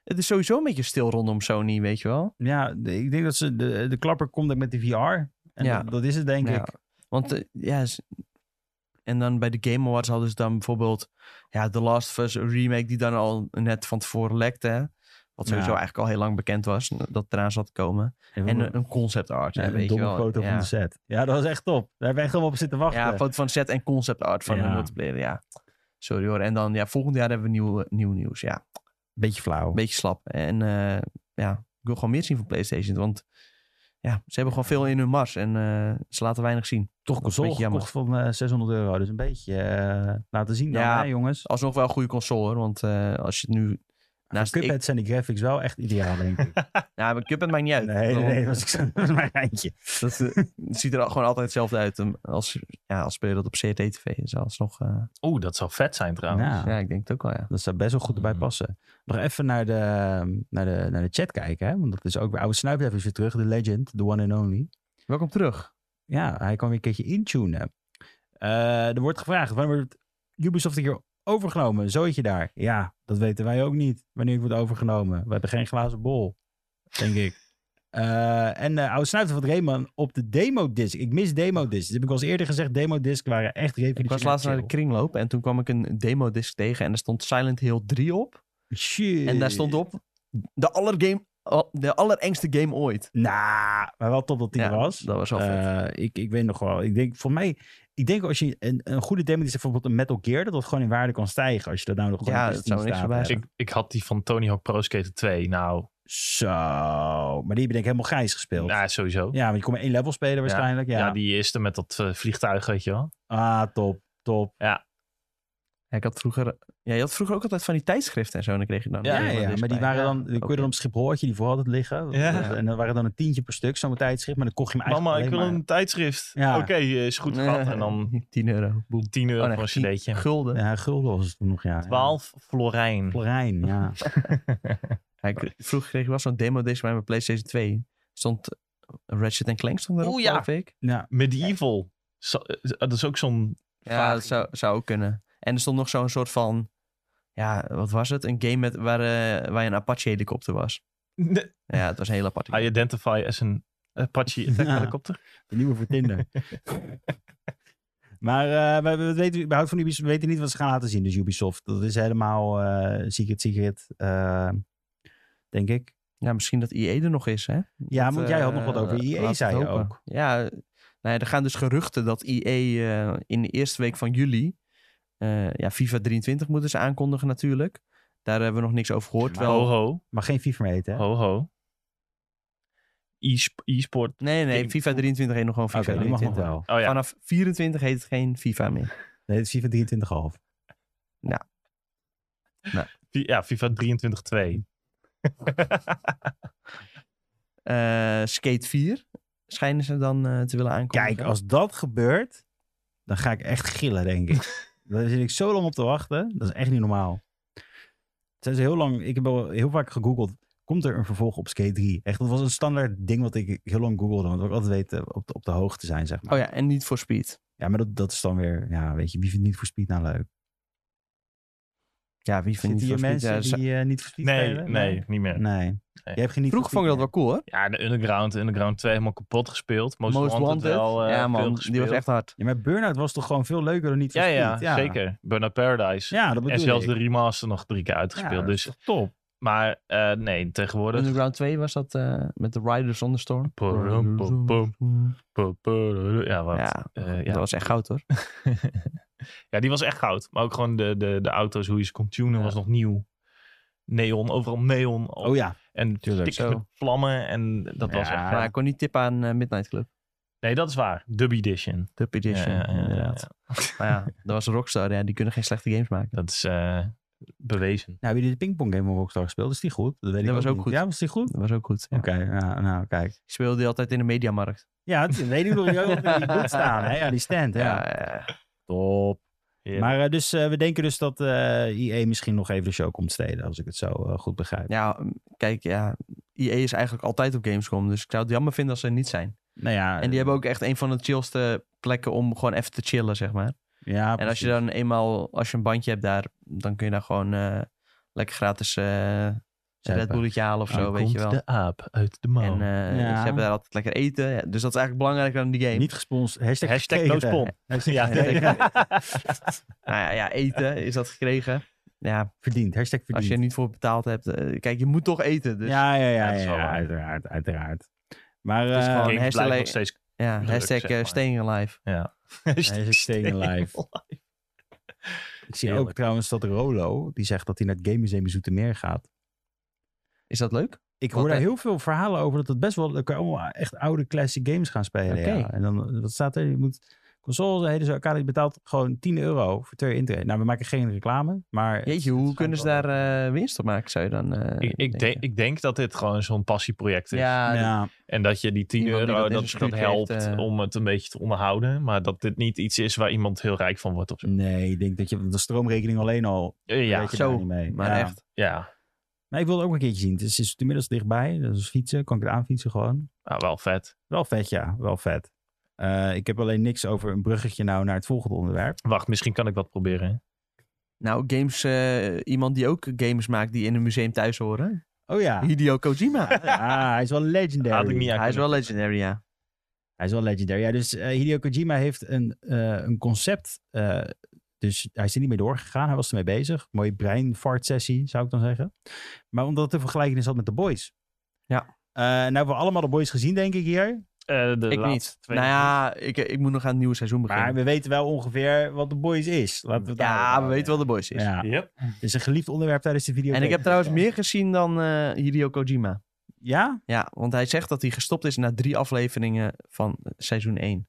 het is sowieso een beetje stil rondom Sony, weet je wel.
ja de- ik denk dat ze de, de klapper komt ook met de VR. En
Ja.
dat, dat is het, denk
Ja.
ik.
Want eh, ja, s- en dan bij de Game Awards hadden ze dan bijvoorbeeld ja, The Last of Us remake die dan al net van tevoren lekte. hè. Wat
Ja.
sowieso eigenlijk al heel lang bekend was, dat eraan zat te komen. En een- een concept art, hè,
Ja, eh, een
weet je
domme
wel.
foto
ja.
van de set. Ja, dat was echt top. Daar hebben we echt helemaal op zitten wachten.
Ja, foto van set en concept art van
Ja.
een multiplayer, ja. Sorry hoor. En dan, ja, volgend jaar hebben we nieuw, nieuw nieuws, ja.
Beetje flauw.
een beetje slap. En eh, ja, ik wil gewoon meer zien van PlayStation. Want ja, ze hebben gewoon veel in hun mars en eh, ze laten weinig zien.
Toch
Dat is een
console
beetje jammer.
gekocht van eh, 600 euro. Dus een beetje eh, laten zien dan,
Ja.
hè, jongens.
Alsnog wel een goede console hoor. Want eh, als je het nu naast
Voor
ik,
Cuphead zijn die graphics wel echt ideaal, denk ik.
nou, maar Cuphead maakt niet uit.
nee, nee,
Want
nee, dat was, dat was mijn geintje.
dat, eh, het ziet er al- gewoon altijd hetzelfde uit um, als, ja, als speel je dat op CRT-TV. Dus alsnog, eh,
Oeh, dat zou vet zijn
Ja.
trouwens.
ja, ik denk het ook wel ja.
Dat zou best wel goed erbij
Mm.
passen. Nog even naar de, naar de, naar de chat kijken, hè? want dat is ook weer oude snuifdef is weer terug. De legend, the one and only.
Welkom terug.
Ja, hij kan weer een keertje intunen. Eh, er wordt gevraagd, wanneer wordt Ubisoft een keer overgenomen? Een zooitje daar. Ja, dat weten wij ook niet. Wanneer het wordt overgenomen. We hebben geen glazen bol, denk ik. Eh, en eh oude snuiter van Rayman op de demo-disc. Ik mis demo-disc. Dat heb ik al eens eerder gezegd. Demo-disc waren echt
Ik
revolutionair.
was laatst naar de kringloop en toen kwam ik een demo-disc tegen en daar stond Silent Hill 3 op.
Shit.
En daar stond op de, allergame, al- de allerengste game ooit.
Nou, maar wel top dat die
Ja,
er was.
Dat was wel vet.
Eh, ik, ik weet nog wel. Ik denk voor mij. Ik denk als je een, een goede demo die is bijvoorbeeld een Metal Gear, dat dat gewoon in waarde kan stijgen. Als je dat nou nog gewoon
Ja,
op
dat
Steam
zou niks
staat,
verbazen.
hè.
Dus Ik, ik had die van Tony Hawk Pro Skater 2. Nou,
Zo. Maar die heb je denk ik helemaal grijs gespeeld.
nou, sowieso.
Ja, want je kon maar één level spelen waarschijnlijk. Ja,
Ja, die eerste met dat eh, vliegtuig, weet je wel.
Ah, top. Top.
Ja, ik had vroeger, ja, je had vroeger ook altijd van die tijdschriften en zo. En dan kreeg je dan
Ja,
een
ja,
disc
maar die
bij.
waren dan, die kon
Oké.
je dan op Schiphol had je die voor altijd liggen.
Ja.
En dan waren dan een tientje per stuk, zo'n tijdschrift. Maar dan kocht je hem eigenlijk
Mama, ik
alleen
wil
maar-
een tijdschrift.
Ja.
Oké, eh, is goed gehad. En dan
10 euro. Boem.
10 euro
Oh, nee,
voor
tien
een cd'tje.
Gulden.
Ja, gulden was het toen nog, ja.
12 florijn.
Florijn, ja.
Ja, ik- vroeger kreeg ik wel zo'n demo disc bij mijn PlayStation 2. Stond Ratchet Clank stond erop,
Oeh, ja.
geloof ik.
ja.
Medieval. Zo- eh, dat is ook zo'n...
Ja,
Vaag.
dat zou, zou ook kunnen. En er stond nog zo'n soort van, ja, wat was het? Een game met, waar, eh, waar je een Apache helikopter was. Ja, het was een hele
Ah,
aparte
I
game.
identify as an Apache attack
Ja.
helicopter.
De nieuwe voor Tinder. maar eh, we, we, weten, we, houden van Ubisoft, we weten niet wat ze gaan laten zien, dus Ubisoft. Dat is helemaal eh, secret, secret, eh, denk ik.
Ja, misschien dat IE er nog is, hè?
Ja, want jij had
eh,
nog wat over
laten we
EA,
het
zei je
hopen.
ook.
Ja, nou ja, er gaan dus geruchten dat EA eh, in de eerste week van juli... eh, ja, FIFA 23 moeten ze aankondigen natuurlijk. Daar hebben we nog niks over gehoord.
Maar-
wel,
Ho, ho.
Mag geen FIFA meer
Oh.
eten, hè?
Ho, ho. E-sp- E-sport.
nee, nee,
ik-
FIFA 23 heet nog gewoon
Oké,
FIFA
die mag nog
23.
wel.
Oh ja,
Vanaf 24 heet het geen FIFA meer.
Nee, het is FIFA 23,5.
fi- ja FIFA 23-2.
Eh, Skate 4 schijnen ze dan eh, te willen aankondigen.
Kijk, als dat gebeurt, dan ga ik echt gillen, denk ik. Daar zit ik zo lang op te wachten. Dat is echt niet normaal. Zijn ze heel lang, ik heb al heel vaak gegoogeld. Komt er een vervolg op Skate 3? Echt, dat was een standaard ding wat ik heel lang googelde. Want ik wil altijd weten op de, op de hoogte zijn, zeg maar.
Oh ja, en niet voor Speed.
Ja, maar dat, dat is dan weer, ja, weet je, wie vindt niet voor Speed nou leuk?
Ja, wie vindt
Zitten
niet voor
hier
Speed?
mensen
Ja, ze-
die eh, niet voor Speed
Nee,
spelen?
nee, niet meer.
Nee.
Nee.
Jij hebt geen niet
Vroeger
voor
vond ik dat wel
Speed
cool, hoor.
Ja, de Underground, Underground 2 helemaal kapot gespeeld. Most, Wanted, wel eh,
ja,
veel
man,
gespeeld.
die was echt hard.
meer. Ja, maar Burnout was toch gewoon veel leuker dan niet voor
ja, ja,
Speed?
zeker. Burnout Paradise.
Ja, dat bedoel
en zelfs
ik.
de remaster nog drie keer
Ja,
uitgespeeld.
dat is
dus,
toch top.
maar eh, nee, tegenwoordig...
Underground 2 was dat eh, met de Riders on the Storm.
Pum, pum, pum, pum, pum. Ja, wat.
Ja,
Eh,
dat
ja.
was echt goud hoor.
ja, die was echt goud. Maar ook gewoon de, de, de auto's, hoe je ze kon tunen,
Ja.
was nog nieuw. Neon, overal neon.
Oh ja,
En
Tuurlijk.
stickers
Zo.
met vlammen. En dat was
Ja.
echt
Maar
gaaf.
ik kon niet tippen aan eh, Midnight Club.
Nee, dat is waar. Dub Edition.
Dub Edition,
Ja, ja, ja, ja,
inderdaad.
ja.
Maar ja, dat was Rockstar. Ja, die kunnen geen slechte games maken.
Dat is eh, bewezen.
Nou, hebben jullie de pingpong game van Rockstar gespeeld? Is die goed? Dat weet
Dat
ik
was ook
niet.
goed.
Ja, was die goed?
Dat was ook goed. ja.
Oké, ja, nou kijk.
Die speelde die altijd in de mediamarkt.
Ja, het weet ik nog niet. Ook in die boot staan. Hè? Ja, die stand. Ja.
ja.
Top.
Ja.
Maar eh, dus eh, we denken dus dat IE misschien nog even de show komt steden, als ik het zo eh, goed begrijp.
Ja, m, kijk, ja, EA is eigenlijk altijd op Gamescom. Dus ik zou het jammer vinden als ze er niet zijn.
Nou ja,
En die hebben ook echt een van de chillste plekken om gewoon even te chillen, zeg maar.
Ja,
En als je
precies.
dan eenmaal, als je een bandje hebt daar, dan kun je daar gewoon eh, lekker gratis eh een Red
Zuipen.
Bulletje halen of zo, weet je wel.
de aap uit de
En
mouw.
eh,
oh. Ja.
ze hebben daar altijd lekker eten. Ja, Dus dat is eigenlijk belangrijker dan die game.
Niet gesponsord. Hashtag,
Hashtag
gekregen.
no spon.
Hashtag
Ja,
gekregen.
Nou ja, ja, eten is dat gekregen. Ja,
eh, Verdiend. Hashtag verdiend.
als je er niet voor betaald hebt. eh, kijk, je moet toch eten. Dus ja,
Ja, ja, ja. ja,
Ja, dat is wel
ja,
waar.
uiteraard, uiteraard. Maar
is
eh,
gewoon-
King
hashtag-
blijft nog steeds... Druk,
hashtag
zeg
eh,
maar.
staying alive.
Ja.
Hij is staying alive. ik zie ook
Heerlijk.
trouwens dat Rolo, die zegt dat hij naar het Game Museum in Zoetermeer gaat.
Is dat leuk?
Ik
Wat,
hoor daar
hè?
heel veel verhalen over dat het best wel... Er kunnen allemaal echt oude classic games gaan spelen.
Oké.
Ja. En dan, wat staat er? Je moet... Consoles, hele zo, Arcade, je betaalt gewoon 10 euro voor twee intree. Nou, we maken geen reclame, maar...
Jeetje, hoe kunnen ze daar eh, winst op maken, zou je dan eh,
Ik, ik, denk, dus.
denken?
ik denk dat dit gewoon zo'n passieproject is.
Ja,
Ja,
En dat je die 10
Iemand die
euro,
dat in
dat,
zijn
dat
schuurtje heeft,
helpt
eh.
om het een beetje te onderhouden. Maar dat dit niet iets is waar iemand heel rijk van wordt of zo.
nee, ik denk dat je want de stroomrekening alleen al...
Eh,
Ja,
Ja,
weet je
Mm. zo,
daar niet mee.
maar
Ja.
echt.
ja.
Maar ik wil het ook een keertje zien. Het is, is inmiddels dichtbij, dus fietsen, kan ik het aanfietsen gewoon.
Nou, wel vet.
Wel vet, ja. Wel vet. Eh, ik heb alleen niks over een bruggetje nou naar het volgende onderwerp.
Wacht, misschien kan ik wat proberen.
Nou, games, eh, iemand die ook games maakt die in een museum thuis horen.
Oh ja.
Hideo Kojima.
Ah, hij is wel legendary.
Had ik niet aan
Hij is
kunnen-
wel legendary, ja.
Hij is wel legendary. Ja, dus eh, Hideo Kojima heeft een, eh, een concept. eh, dus hij is er niet mee doorgegaan. Hij was ermee bezig. Mooie breinfart sessie, zou ik dan zeggen. Maar omdat het een vergelijking had met de boys.
Ja.
Eh, nou hebben we allemaal de boys gezien, denk ik hier.
Eh, de
Ik
laatste
niet.
twee
Nou ja, ik, ik moet nog aan het nieuwe seizoen
Maar
beginnen.
we weten wel ongeveer wat de boys is. Laten we het
ja,
daarover
we weten wel de boys is.
houden. Ja,
minuten. Yep.
het is een geliefd onderwerp tijdens de video.
En ik heb trouwens meer gezien dan eh, Hideo Kojima.
Ja?
Ja, want hij zegt dat hij gestopt is na drie afleveringen van seizoen 1.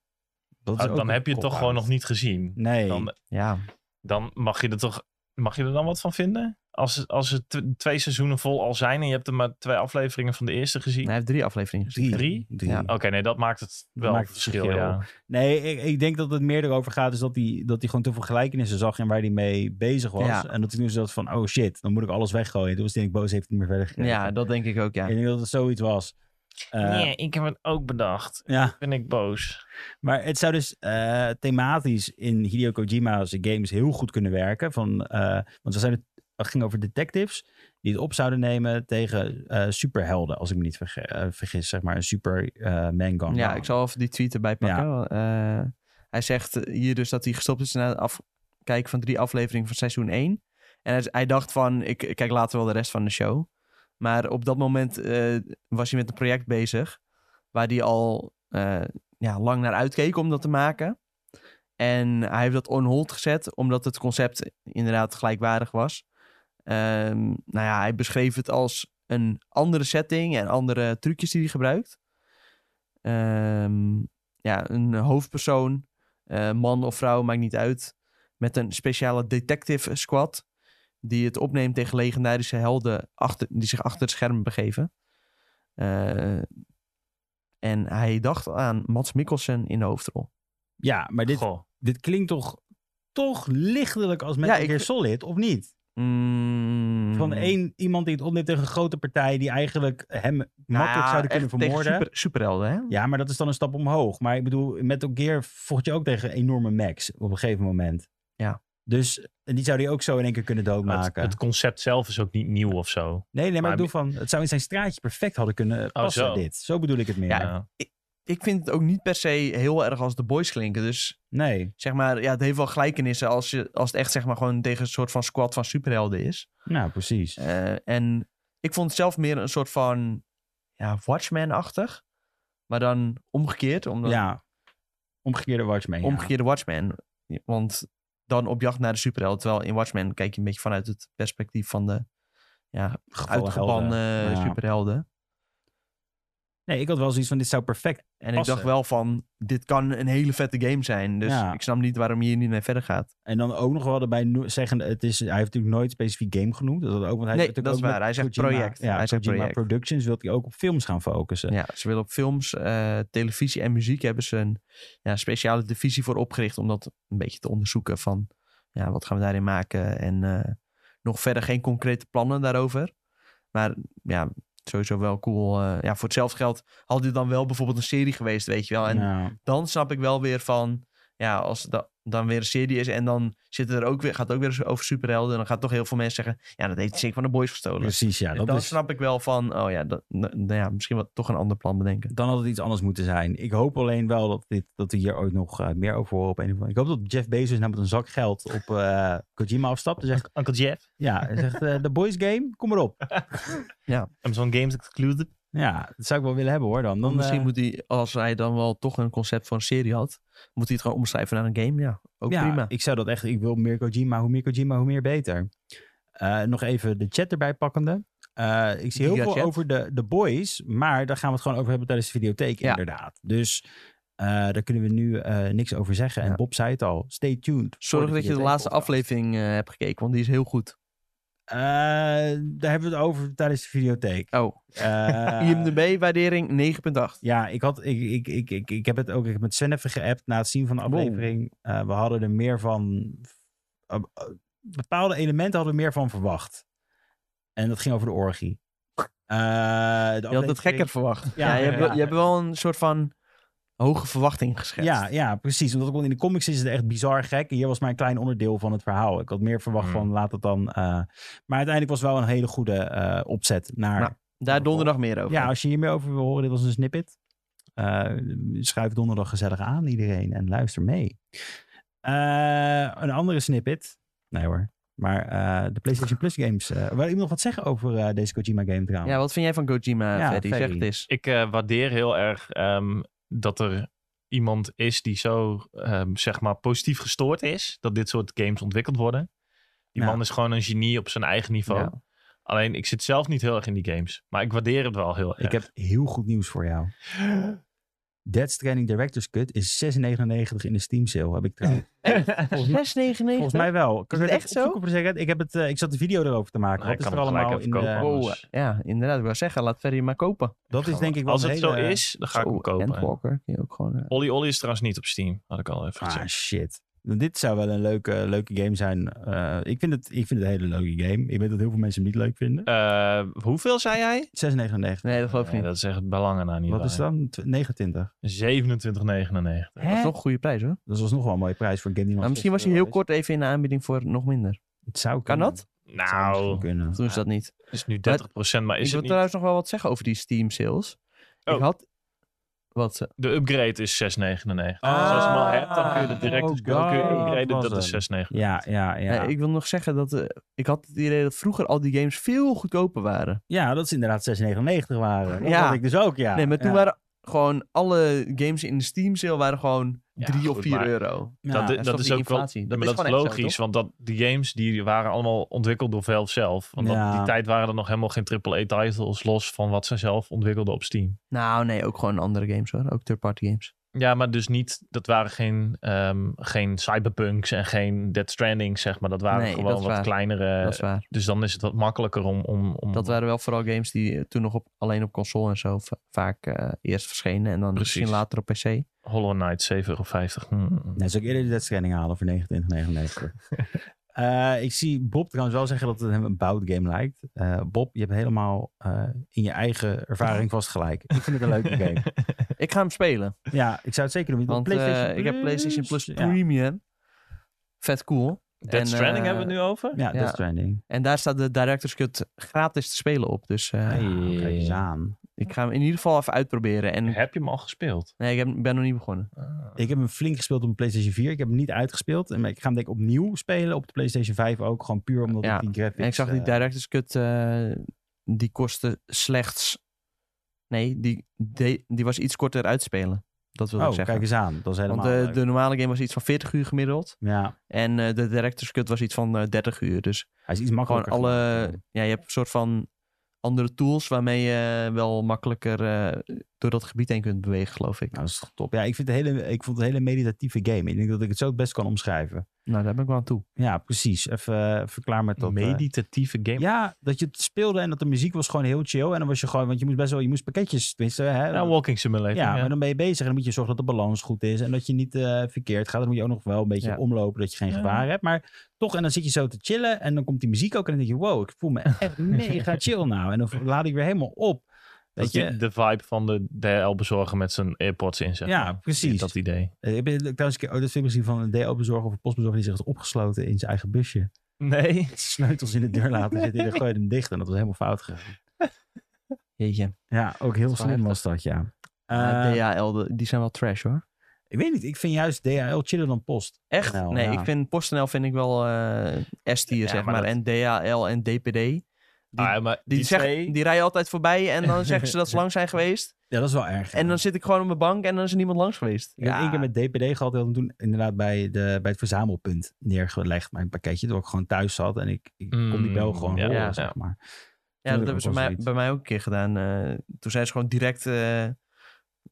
Dat
Oh,
Ah,
ook
dan
een
heb je het toch
cop-out.
gewoon nog niet gezien.
Nee.
Dan,
Ja,
dan mag je er toch mag je er dan wat van vinden? Als, als er tw- twee seizoenen vol al zijn en je hebt er maar twee afleveringen van de eerste gezien.
hij heeft drie afleveringen gezien.
Drie.
Drie?
Ja.
Oké, nee, dat maakt het
Dat
wel
maakt het
verschil.
verschil.
ja.
Nee, ik, ik denk dat het meer erover gaat. Is dat hij dat die gewoon te veel gelijkenissen zag en waar hij mee bezig was.
Ja.
En dat hij nu zat van: oh shit, dan moet ik alles weggooien. Toen was hij denk ik boos, heeft het niet meer verder gekregen.
Ja, dat denk ik ook, ja.
Ik denk dat het zoiets was. Eh,
Nee, ik heb het ook bedacht.
Ja,
Ben ik boos.
maar het zou dus eh, thematisch in Hideo Kojima's games heel goed kunnen werken. Van, eh, want ze zijn het, het ging over detectives die het op zouden nemen tegen eh, superhelden, als ik me niet verge- eh, vergis. Zeg maar een super eh, man gang.
Ja, ik zal even die tweet erbij pakken. Eh, hij zegt hier dus dat hij gestopt is na het afkijken van drie afleveringen van seizoen 1. En hij, hij dacht van, ik ik kijk later wel de rest van de show. Maar op dat moment eh, was hij met een project bezig waar hij al eh, ja, lang naar uitkeek om dat te maken. En hij heeft dat on hold gezet, omdat het concept inderdaad gelijkwaardig was. Ehm, nou ja, hij beschreef het als een andere setting en andere trucjes die hij gebruikt. Ehm, ja, een hoofdpersoon, eh, man of vrouw, maakt niet uit. Met een speciale detective squad. Die het opneemt tegen legendarische helden achter, die zich achter het scherm begeven. Eh, en hij dacht aan Mats Mikkelsen in de hoofdrol.
ja maar dit,
Goh.
dit klinkt toch, toch lichtelijk als Metal
Ja, ik-
Gear Solid, of niet?
Mm.
Van één iemand die het opneemt tegen een grote partij die eigenlijk hem
Nou
makkelijk
ja,
zouden kunnen
echt tegen
vermoorden.
Super, superhelden, hè?
Ja, maar dat is dan een stap omhoog. Maar ik bedoel, Metal Gear vocht je ook tegen enorme max op een gegeven moment.
Ja.
Dus en die zou die ook zo in één keer kunnen
Het,
doodmaken.
het concept zelf is ook niet nieuw of zo.
nee, nee, maar,
maar-
ik bedoel van, het zou in zijn straatje perfect hadden kunnen passen
zo.
dit. Zo bedoel ik het meer.
Ja.
Ja.
Ik vind het ook niet per se heel erg als de boys klinken. Dus
Nee,
zeg maar, ja, het heeft wel gelijkenissen als, je, als het echt zeg maar gewoon tegen een soort van squad van superhelden is.
nou precies.
Eh, en ik vond het zelf meer een soort van ja, Watchmen-achtig. Maar dan omgekeerd, omdat
ja, omgekeerde Watchmen. ja.
omgekeerde Watchmen. Want dan op jacht naar de superheld. Terwijl in Watchmen kijk je een beetje vanuit het perspectief van de ja,
Gevallen helden.
uitgebannen
Ja.
superhelden.
Nee, ik had wel zoiets van, dit zou perfect.
En ik
Passen.
dacht wel van, dit kan een hele vette game zijn. Dus
Ja.
ik snap niet waarom je hier niet mee verder gaat.
En dan ook nog wel erbij no- zeggen, het is, hij heeft natuurlijk nooit specifiek game genoemd. Dat, had ook, want hij
Nee,
heeft natuurlijk
dat is
ook met
waar. Hij zegt
Kojima-
project.
Ja,
Hij zegt
Kojima
project.
Productions wil hij ook op films gaan focussen.
Ja, ze willen op films, eh, televisie en muziek hebben ze een ja, speciale divisie voor opgericht. Om dat een beetje te onderzoeken van, ja, wat gaan we daarin maken? En eh, nog verder geen concrete plannen daarover. Maar ja, sowieso wel cool. eh, ja, voor hetzelfde geld had dit dan wel bijvoorbeeld een serie geweest, weet je wel. En
Ja.
dan snap ik wel weer van, ja, als dat dan weer een serie is en dan zit er ook weer, gaat ook weer over superhelden. En dan gaan toch heel veel mensen zeggen, ja, dat heeft zeker van de boys gestolen.
Precies, ja.
Dus
Dat
dan
is,
snap ik wel van, oh ja, dat, n- nou ja, misschien wat, toch een ander plan bedenken.
dan had het iets anders moeten zijn. Ik hoop alleen wel dat, dit, dat we hier ooit nog eh, meer over horen. Op een of andere. Ik hoop dat Jeff Bezos nou met een zak geld op eh, Kojima afstapt. En zegt,
Uncle Jeff.
ja, en zegt eh, de boys game, kom maar op.
Amazon Games Exclusive.
Ja, dat zou ik wel willen hebben hoor dan. dan
misschien
eh,
moet hij, als hij dan wel toch een concept voor een serie had, moet hij het gewoon omschrijven naar een game. Ja, ook
ja,
prima.
ik zou dat echt... Ik wil meer Kojima. Hoe meer Kojima, hoe meer beter. Eh, nog even de chat erbij pakkende. Eh, ik zie heel veel
Gigachat.
over de, de boys. Maar daar gaan we het gewoon over hebben tijdens de videotheek
Ja.
inderdaad. Dus eh, daar kunnen we nu eh, niks over zeggen. En
Ja.
Bob zei het al. Stay tuned. voor
Zorg dat je de
videotheek
laatste
podcast.
aflevering eh, hebt gekeken, want die is heel goed.
Eh, daar hebben we het over tijdens de videotheek.
Oh,
Eh,
IMDb-waardering 9.8.
Ja, ik, had, ik, ik, ik, ik, ik heb het ook ik heb met Sven even geappt na het zien van de
Wow.
aflevering. Eh, we hadden er meer van. eh, eh, bepaalde elementen hadden we meer van verwacht. En dat ging over de orgie. Eh, de
Je had het
aflevering-
gekker verwacht. Ja,
Ja,
je, hebt,
ja.
je hebt wel een soort van hoge verwachting geschetst.
Ja, ja, precies. Omdat ik, wel- in de comics is het echt bizar gek. En hier was maar een klein onderdeel van het verhaal. Ik had meer verwacht
Hmm.
van laat het dan. eh, maar uiteindelijk was het wel een hele goede eh, opzet naar.
Nou, Daar donderdag meer over.
Ja, als je hier meer over wil horen, dit was een snippet. Eh, schuif donderdag gezellig aan iedereen en luister mee. Eh, een andere snippet. Nee hoor. Maar eh, de PlayStation Plus games. eh wil iemand nog wat zeggen over eh, deze Kojima game trouwens?
Ja, wat vind jij van Kojima,
Ja,
Ferry?
Ferry.
Zeg het eens.
Ik eh, waardeer heel erg ehm, dat er iemand is die zo ehm, zeg maar positief gestoord is dat dit soort games ontwikkeld worden. Die
Ja.
man is gewoon een genie op zijn eigen niveau.
Ja.
Alleen ik zit zelf niet heel erg in die games, maar ik waardeer het wel heel erg.
Ik heb heel goed nieuws voor jou. Dead Stranding Director's Cut is 6,99 in de Steam sale. Heb ik trouwens. Volgens mij-
6,99?
Volgens mij wel. Kan
Is
ik
het
even
echt zo?
opzoeken, Verzekerd? Ik, heb het, eh, ik zat de video erover te maken.
Nou,
Wat
ik
is er
kan hem gelijk
allemaal in eh, de-
even kopen.
Oh,
dus Anders-
ja, inderdaad. Ik wou zeggen, laat Ferry maar kopen.
Dat is denk ik wel
Als
een
het zo
hele-
is, dan ga ik
Zo,
hem kopen.
Endwalker kun je ook gewoon... eh,
Olly Olly is trouwens niet op Steam, had ik al even
Ah,
gezegd.
shit. Dit zou wel een leuke, leuke game zijn. Eh, ik, vind het, ik vind het een hele leuke game. Ik weet dat heel veel mensen hem niet leuk vinden.
Eh, hoeveel zei jij?
6,99.
nee, dat geloof ik
Nee,
niet.
dat is echt bij lange na niet
Wat
waar.
is dan? Tw- 29.
27,99.
Dat is toch een goede prijs, hoor.
Dat was nog wel een mooie prijs voor een game die nog
Maar misschien was
steeds
hij heel
veel is.
kort even in de aanbieding voor nog minder.
Het zou
Kan
kunnen.
dat?
Het zou
Nou,
misschien kunnen.
Of doen ze dat niet?
het is nu 30%, maar
ik
is
wil
het niet?
trouwens nog wel wat zeggen over die Steam sales.
Oh.
Ik had... Wat? eh,
De upgrade is 6,99.
Ah,
dus als je hem al hebt, dan kun je de direct
oh
dus kun je
god,
upgraden.
was
Dat is 6,99.
Ja, ja, ja.
eh, ik wil nog zeggen dat eh, ik had het idee dat vroeger al die games veel goedkoper waren.
ja, dat is inderdaad 6,99 waren. Dat
Ja.
had ik dus ook, ja.
nee, maar toen
Ja.
waren gewoon alle games in de Steam sale waren gewoon
Ja,
3 of
goed,
4
maar
euro.
Ja.
dat,
is
dat
toch
is
die
ook wel,
inflatie? Dat
maar
is
dat is
gewoon echt zo,
logisch, want dat, die games die waren allemaal ontwikkeld door Valve zelf. Want dat-
Ja.
die tijd waren er nog helemaal geen AAA-titles los van wat ze zelf ontwikkelden op Steam.
Nou nee, ook gewoon andere games hoor. Ook third-party games.
Ja, maar dus niet, dat waren geen, ehm, geen Cyberpunks en geen Dead Stranding, zeg maar. Dat waren
Nee,
gewoon
dat is
wat
waar.
kleinere.
dat is waar.
Dus dan is het wat makkelijker om... om, om
Mhm.
Dat waren wel vooral games die eh, toen nog op, alleen op console en zo va- vaak eh, eerst verschenen. En dan
Precies.
misschien later op PC.
Hollow Knight 7,50 euro. Hmm.
Nee, zou ik eerder de Death Stranding halen voor 29,99. Eh, ik zie Bob trouwens wel zeggen dat het hem een bout game lijkt. Eh, Bob, je hebt helemaal eh, in je eigen ervaring vast gelijk. Ik vind het een leuke game.
Ik ga hem spelen.
Ja, ik zou het zeker doen.
Want
PlayStation
eh, ik heb PlayStation Plus
Ja,
Premium. Vet cool.
Dead
En,
Stranding
eh,
hebben we het nu over?
ja, Death
Ja.
Stranding.
En daar staat de Director's Cut gratis te spelen op. Dus eh,
Hey, kijk eens aan.
ik ga hem in ieder geval even uitproberen. En
Heb je hem al gespeeld?
nee, ik heb- ben nog niet begonnen.
Ah,
Ik heb hem flink gespeeld op de PlayStation 4. Ik heb hem niet uitgespeeld. En Ik ga hem denk ik opnieuw spelen op de PlayStation 5 ook. Gewoon puur omdat
Ja,
ik die graphics...
En ik zag die
eh,
Director's Cut, eh, die kostte slechts... Nee, die, de- die was iets korter uitspelen. Dat wil ik
Oh,
zeggen.
kijk eens aan. Dat is helemaal
Want eh,
leuk.
de normale game was iets van 40 uur gemiddeld.
Ja,
En eh, de Director's Cut was iets van eh, 30 uur. Dus
hij is iets
gewoon
makkelijker.
alle...
gemaakt.
Ja, je hebt een soort van andere tools waarmee je wel makkelijker eh, door dat gebied heen kunt bewegen, geloof ik.
Nou, dat is toch top. Ja, ik, vind het hele, ik vond het een hele meditatieve game. Ik denk dat ik het zo het best kan omschrijven.
Nou, daar ben ik wel aan toe.
Ja, precies. Even eh, verklaar met dat. eh,
Meditatieve game.
ja, dat je het speelde en dat de muziek was gewoon heel chill. En dan was je gewoon, want je moest best wel, je moest pakketjes, tenminste, hè,
Ja, walking simulator.
Ja,
Ja,
maar dan ben je bezig en dan moet je zorgen dat de balans goed is en dat je niet eh, verkeerd gaat. Dan moet je ook nog wel een beetje
Ja.
omlopen dat je geen
Ja.
gevaar hebt. Maar toch, en dan zit je zo te chillen en dan komt die muziek ook en dan denk je, wow, ik voel me echt mega chill nou. En dan laad ik weer helemaal op.
Dat
Weet
is de-
je?
de vibe van de DL-bezorger met zijn AirPods in, zeg
Ja,
maar.
precies.
Dat idee.
Eh, Ik ben trouwens een keer ooit dat filmpje gezien van een DO-bezorger of een postbezorger die zich had opgesloten in zijn eigen busje.
Nee.
Sleutels in de deur laten zitten en dan gooide hem dicht en dat was helemaal fout gegaan.
Jeetje.
Ja, ook heel
Dat is wel
slim was
heftig.
dat, ja.
Ja,
Eh,
DHL, de- die zijn wel trash hoor.
ik weet niet, ik vind juist DHL chiller dan post.
Echt?
Nou,
nee,
ja.
ik vind PostNL vind ik wel eh S-tier,
Ja,
zeg maar.
maar dat-
En DHL en DPD. Die,
Ah, maar
die,
die
zeggen-
twee-
die rijden altijd voorbij en dan zeggen ze dat ze lang zijn geweest.
Ja, dat is wel erg.
En
ja.
dan zit ik gewoon op mijn bank en dan is er niemand langs geweest.
Ik heb één keer met DPD gehad. Dat had ik toen inderdaad bij, de, bij het verzamelpunt neergelegd. Mijn pakketje. Door ik gewoon thuis zat. En ik, ik kon die bel
Mm,
gewoon
ja,
horen,
ja.
zeg maar.
Ja, dat
Tuurlijk,
hebben ze
ook wel
mij,
zoiets.
bij mij ook een keer gedaan. Eh, toen zijn ze gewoon direct eh,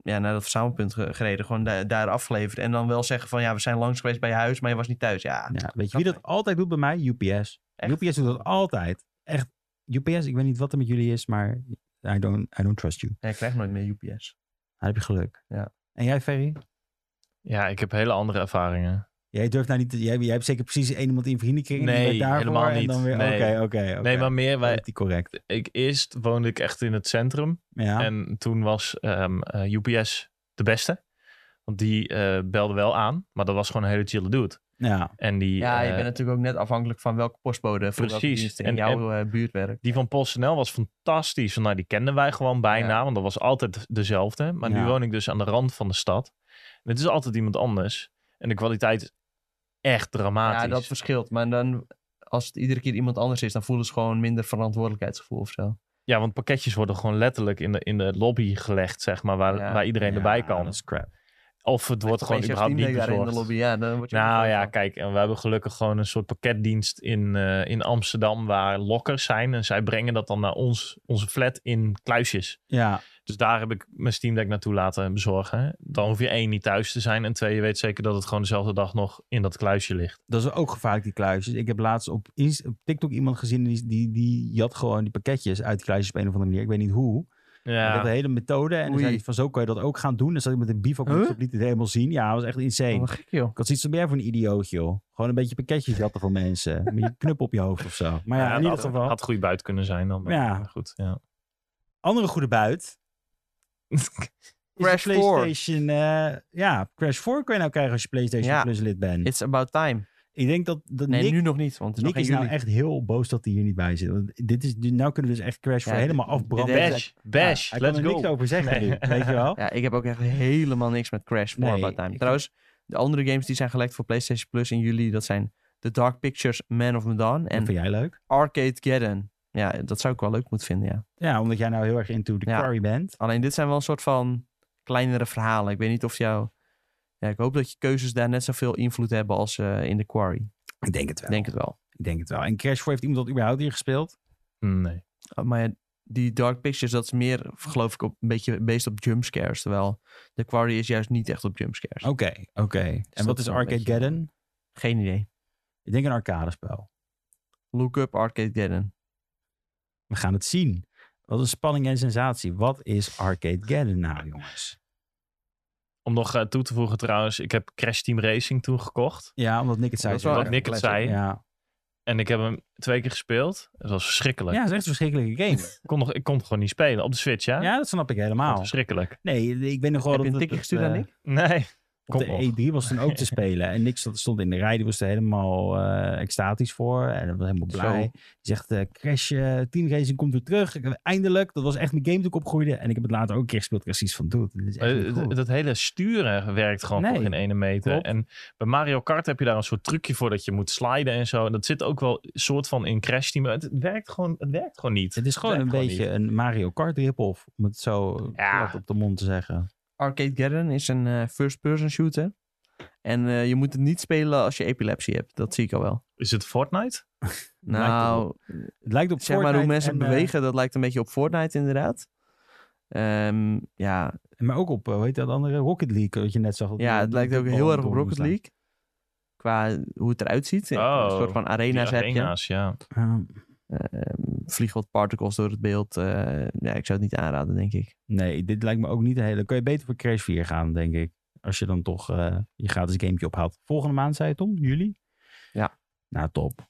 ja, naar dat verzamelpunt ge- gereden. Gewoon da- daar afgeleverd. En dan wel zeggen van ja, we zijn langs geweest bij je huis, maar je was niet thuis. Ja,
Ja, weet je wie dat altijd doet bij mij? UPS.
Echt?
UPS doet dat altijd. Echt. UPS, ik weet niet wat er met jullie is, maar I don't, I don't trust you.
ja, ik krijg nooit meer UPS.
Dan heb je geluk.
Ja.
En jij, Ferry?
Ja, ik heb hele andere ervaringen.
Jij durft nou niet... te- Jij, jij hebt zeker precies één iemand in vriendenkring. die
Nee,
werd daarvoor
helemaal
En dan
niet.
weer,
Nee.
oké, oké, oké.
Nee, maar meer... Wij,
Die correct.
ik, eerst woonde ik echt in het centrum.
Ja.
En toen was ehm, eh, UPS de beste. Want die eh, belde wel aan, maar dat was gewoon een hele chille dude.
ja.
En die,
Ja, je
eh,
bent natuurlijk ook net afhankelijk van welke postbode voor welke
Precies.
dienst in
En-
jouw eh, buurt werkt.
die van PostNL was fantastisch. Want, Nou, die kenden wij gewoon bijna, want dat was altijd dezelfde. Maar
Ja.
nu woon ik dus aan de rand van de stad. En het is altijd iemand anders. En de kwaliteit is echt dramatisch.
Ja, dat verschilt. Maar dan, als het iedere keer iemand anders is, dan voelen ze gewoon minder verantwoordelijkheidsgevoel of zo.
Ja, want pakketjes worden gewoon letterlijk in de, in de lobby gelegd, zeg maar, waar,
Ja.
waar iedereen
Ja,
erbij kan.
Dat is crap.
Of het wordt gewoon
Opeens
überhaupt
heeft
niet
iedereen daar
bezorgd.
in de lobby, ja, dan word je
Nou
gewoon
ja,
van-
kijk, en we hebben gelukkig gewoon een soort pakketdienst in, eh, in Amsterdam waar lokkers zijn. En zij brengen dat dan naar ons, onze flat in kluisjes.
Ja.
Dus daar heb ik mijn Steam Deck naartoe laten bezorgen. Dan hoef je één niet thuis te zijn. En twee, je weet zeker dat het gewoon dezelfde dag nog in dat kluisje ligt.
Dat is ook gevaarlijk, die kluisjes. Ik heb laatst op, Inst- op TikTok iemand gezien die, die, die jat gewoon die pakketjes uit die kluisjes op een of andere manier. Ik weet niet hoe. Maar Dat
Ja,
een hele methode. En dan
Oei.
zei hij van zo kan je dat ook gaan doen. Dan zat ik met een bief ook
Huh?
op liet het helemaal zien. Ja, dat was echt insane.
Wat gek, joh.
Ik had zoiets van, ben jij voor een idioot, joh? Gewoon een beetje pakketjes jatten van mensen. Met je knup op je hoofd of zo. Maar ja,
Ja,
in ieder
dat
geval.
had goede buit kunnen zijn dan. maar
Ja.
Goed, ja.
Andere goede buit. is
Crash
de
4.
PlayStation, eh, ja, Crash 4 kun je nou krijgen als je PlayStation
Ja.
Plus lid
Hm.
bent.
It's about time.
Ik denk dat, dat
Nee,
Nick,
nu nog niet, want het is
Nick
nog
is
geen
nou
juli.
echt heel boos dat hij hier niet bij zit. Want dit is, nu nou kunnen we dus echt Crash
Ja,
4 helemaal
dit- dit
afbranden.
heeft-
Bash, bash,
Ja, hij
let's
kan er niks
go.
over zeggen
Nee.
nu, weet je wel.
Ja, ik heb ook echt helemaal niks met Crash voor
Nee,
About Time.
ik-
Trouwens, de andere games die zijn gelekt voor PlayStation Plus in juli, dat zijn The Dark Pictures, Man of Medan
En
en
vind jij leuk?
Arcade Geddon. Ja, dat zou ik wel leuk moeten vinden, ja.
Ja, omdat jij nou heel erg into the
Ja.
quarry bent.
Alleen dit zijn wel een soort van kleinere verhalen. Ik weet niet of jou... Ja, ik hoop dat je keuzes daar net zoveel invloed hebben als eh, in The Quarry.
Ik denk het wel.
Ik denk het wel.
Ik denk het wel. En Crash 4 heeft iemand dat überhaupt hier gespeeld?
Hmm, Nee.
Uh, Maar ja, die Dark Pictures, dat is meer, geloof ik, op, een beetje based op jumpscares. Terwijl The Quarry is juist niet echt op jumpscares.
Oké, oké. En
dat
wat
is
is
wel een
Arcade
beetje-
Geddon?
Geen idee.
Ik denk een arcadespel.
Look up Arcade Garden.
We gaan het zien. Wat een spanning en sensatie. Wat is Arcade Geddon nou, jongens?
Om nog eh, toe te voegen trouwens, ik heb Crash Team Racing toen gekocht.
Ja, omdat Nick het zei.
Dat is wel
toch?
Wat Nick het
classic,
zei.
Ja.
En ik heb hem twee keer gespeeld. Het was verschrikkelijk.
ja, het is echt een verschrikkelijke game.
Ik kon, nog, ik kon het gewoon niet spelen. Op de Switch, ja?
Ja, dat snap ik helemaal.
Verschrikkelijk.
Nee, ik weet nog wel
Heb je een
dat
tikje
het,
gestuurd aan
eh,
Nick?
Nee.
Op
Kom
E
op.
de E3 was toen ook te spelen. En Nick stond- stond in de rij. Die was er helemaal eh, extatisch voor. En dat was helemaal
Zo.
blij. Die zegt, eh, Crash eh, Team Racing komt weer terug. Ik- Eindelijk. Dat was echt mijn game toen ik opgroeide. En ik heb het later ook een keer gespeeld. Ik was zoiets van, dude, dit is echt niet
Eh,
goed.
d- dat hele sturen werkt gewoon
Nee,
voor geen ene meter.
klopt.
En bij Mario Kart heb je daar een soort trucje voor dat je moet sliden en zo. En dat zit ook wel soort van in Crash Team. Het werkt gewoon, het werkt gewoon niet.
Het is gewoon een
werkt
beetje een Mario Kart rip-off. Om het zo
Ja.
plat op de mond te zeggen.
Arcade Garden is een eh, first-person shooter. En eh, je moet het niet spelen als je epilepsie hebt. Dat zie ik al wel.
Is het Fortnite?
Nou,
Het lijkt op
zeg
Fortnite
maar hoe mensen
en, eh,
bewegen, dat lijkt een beetje op Fortnite inderdaad. Ehm, ja,
maar ook op, eh, hoe heet dat andere? Rocket League, eh, wat je net zag. dat
ja,
die-
het
die
lijkt ook
voetbal
heel
aan
erg op
het
Rocket
doorgaan
League. Qua hoe het eruit ziet.
Oh,
een soort van
Die
arena's heb je.
arena's, ja.
staan. Ja.
Ehm, vliegen wat particles door het beeld. Eh, ja, ik zou het niet aanraden, denk ik.
nee, dit lijkt me ook niet een hele... Kun je beter voor Crash 4 gaan, denk ik. Als je dan toch eh, je gratis gamepje ophaalt. Volgende maand, zei je Tom? Juli?
Ja.
Nou, top.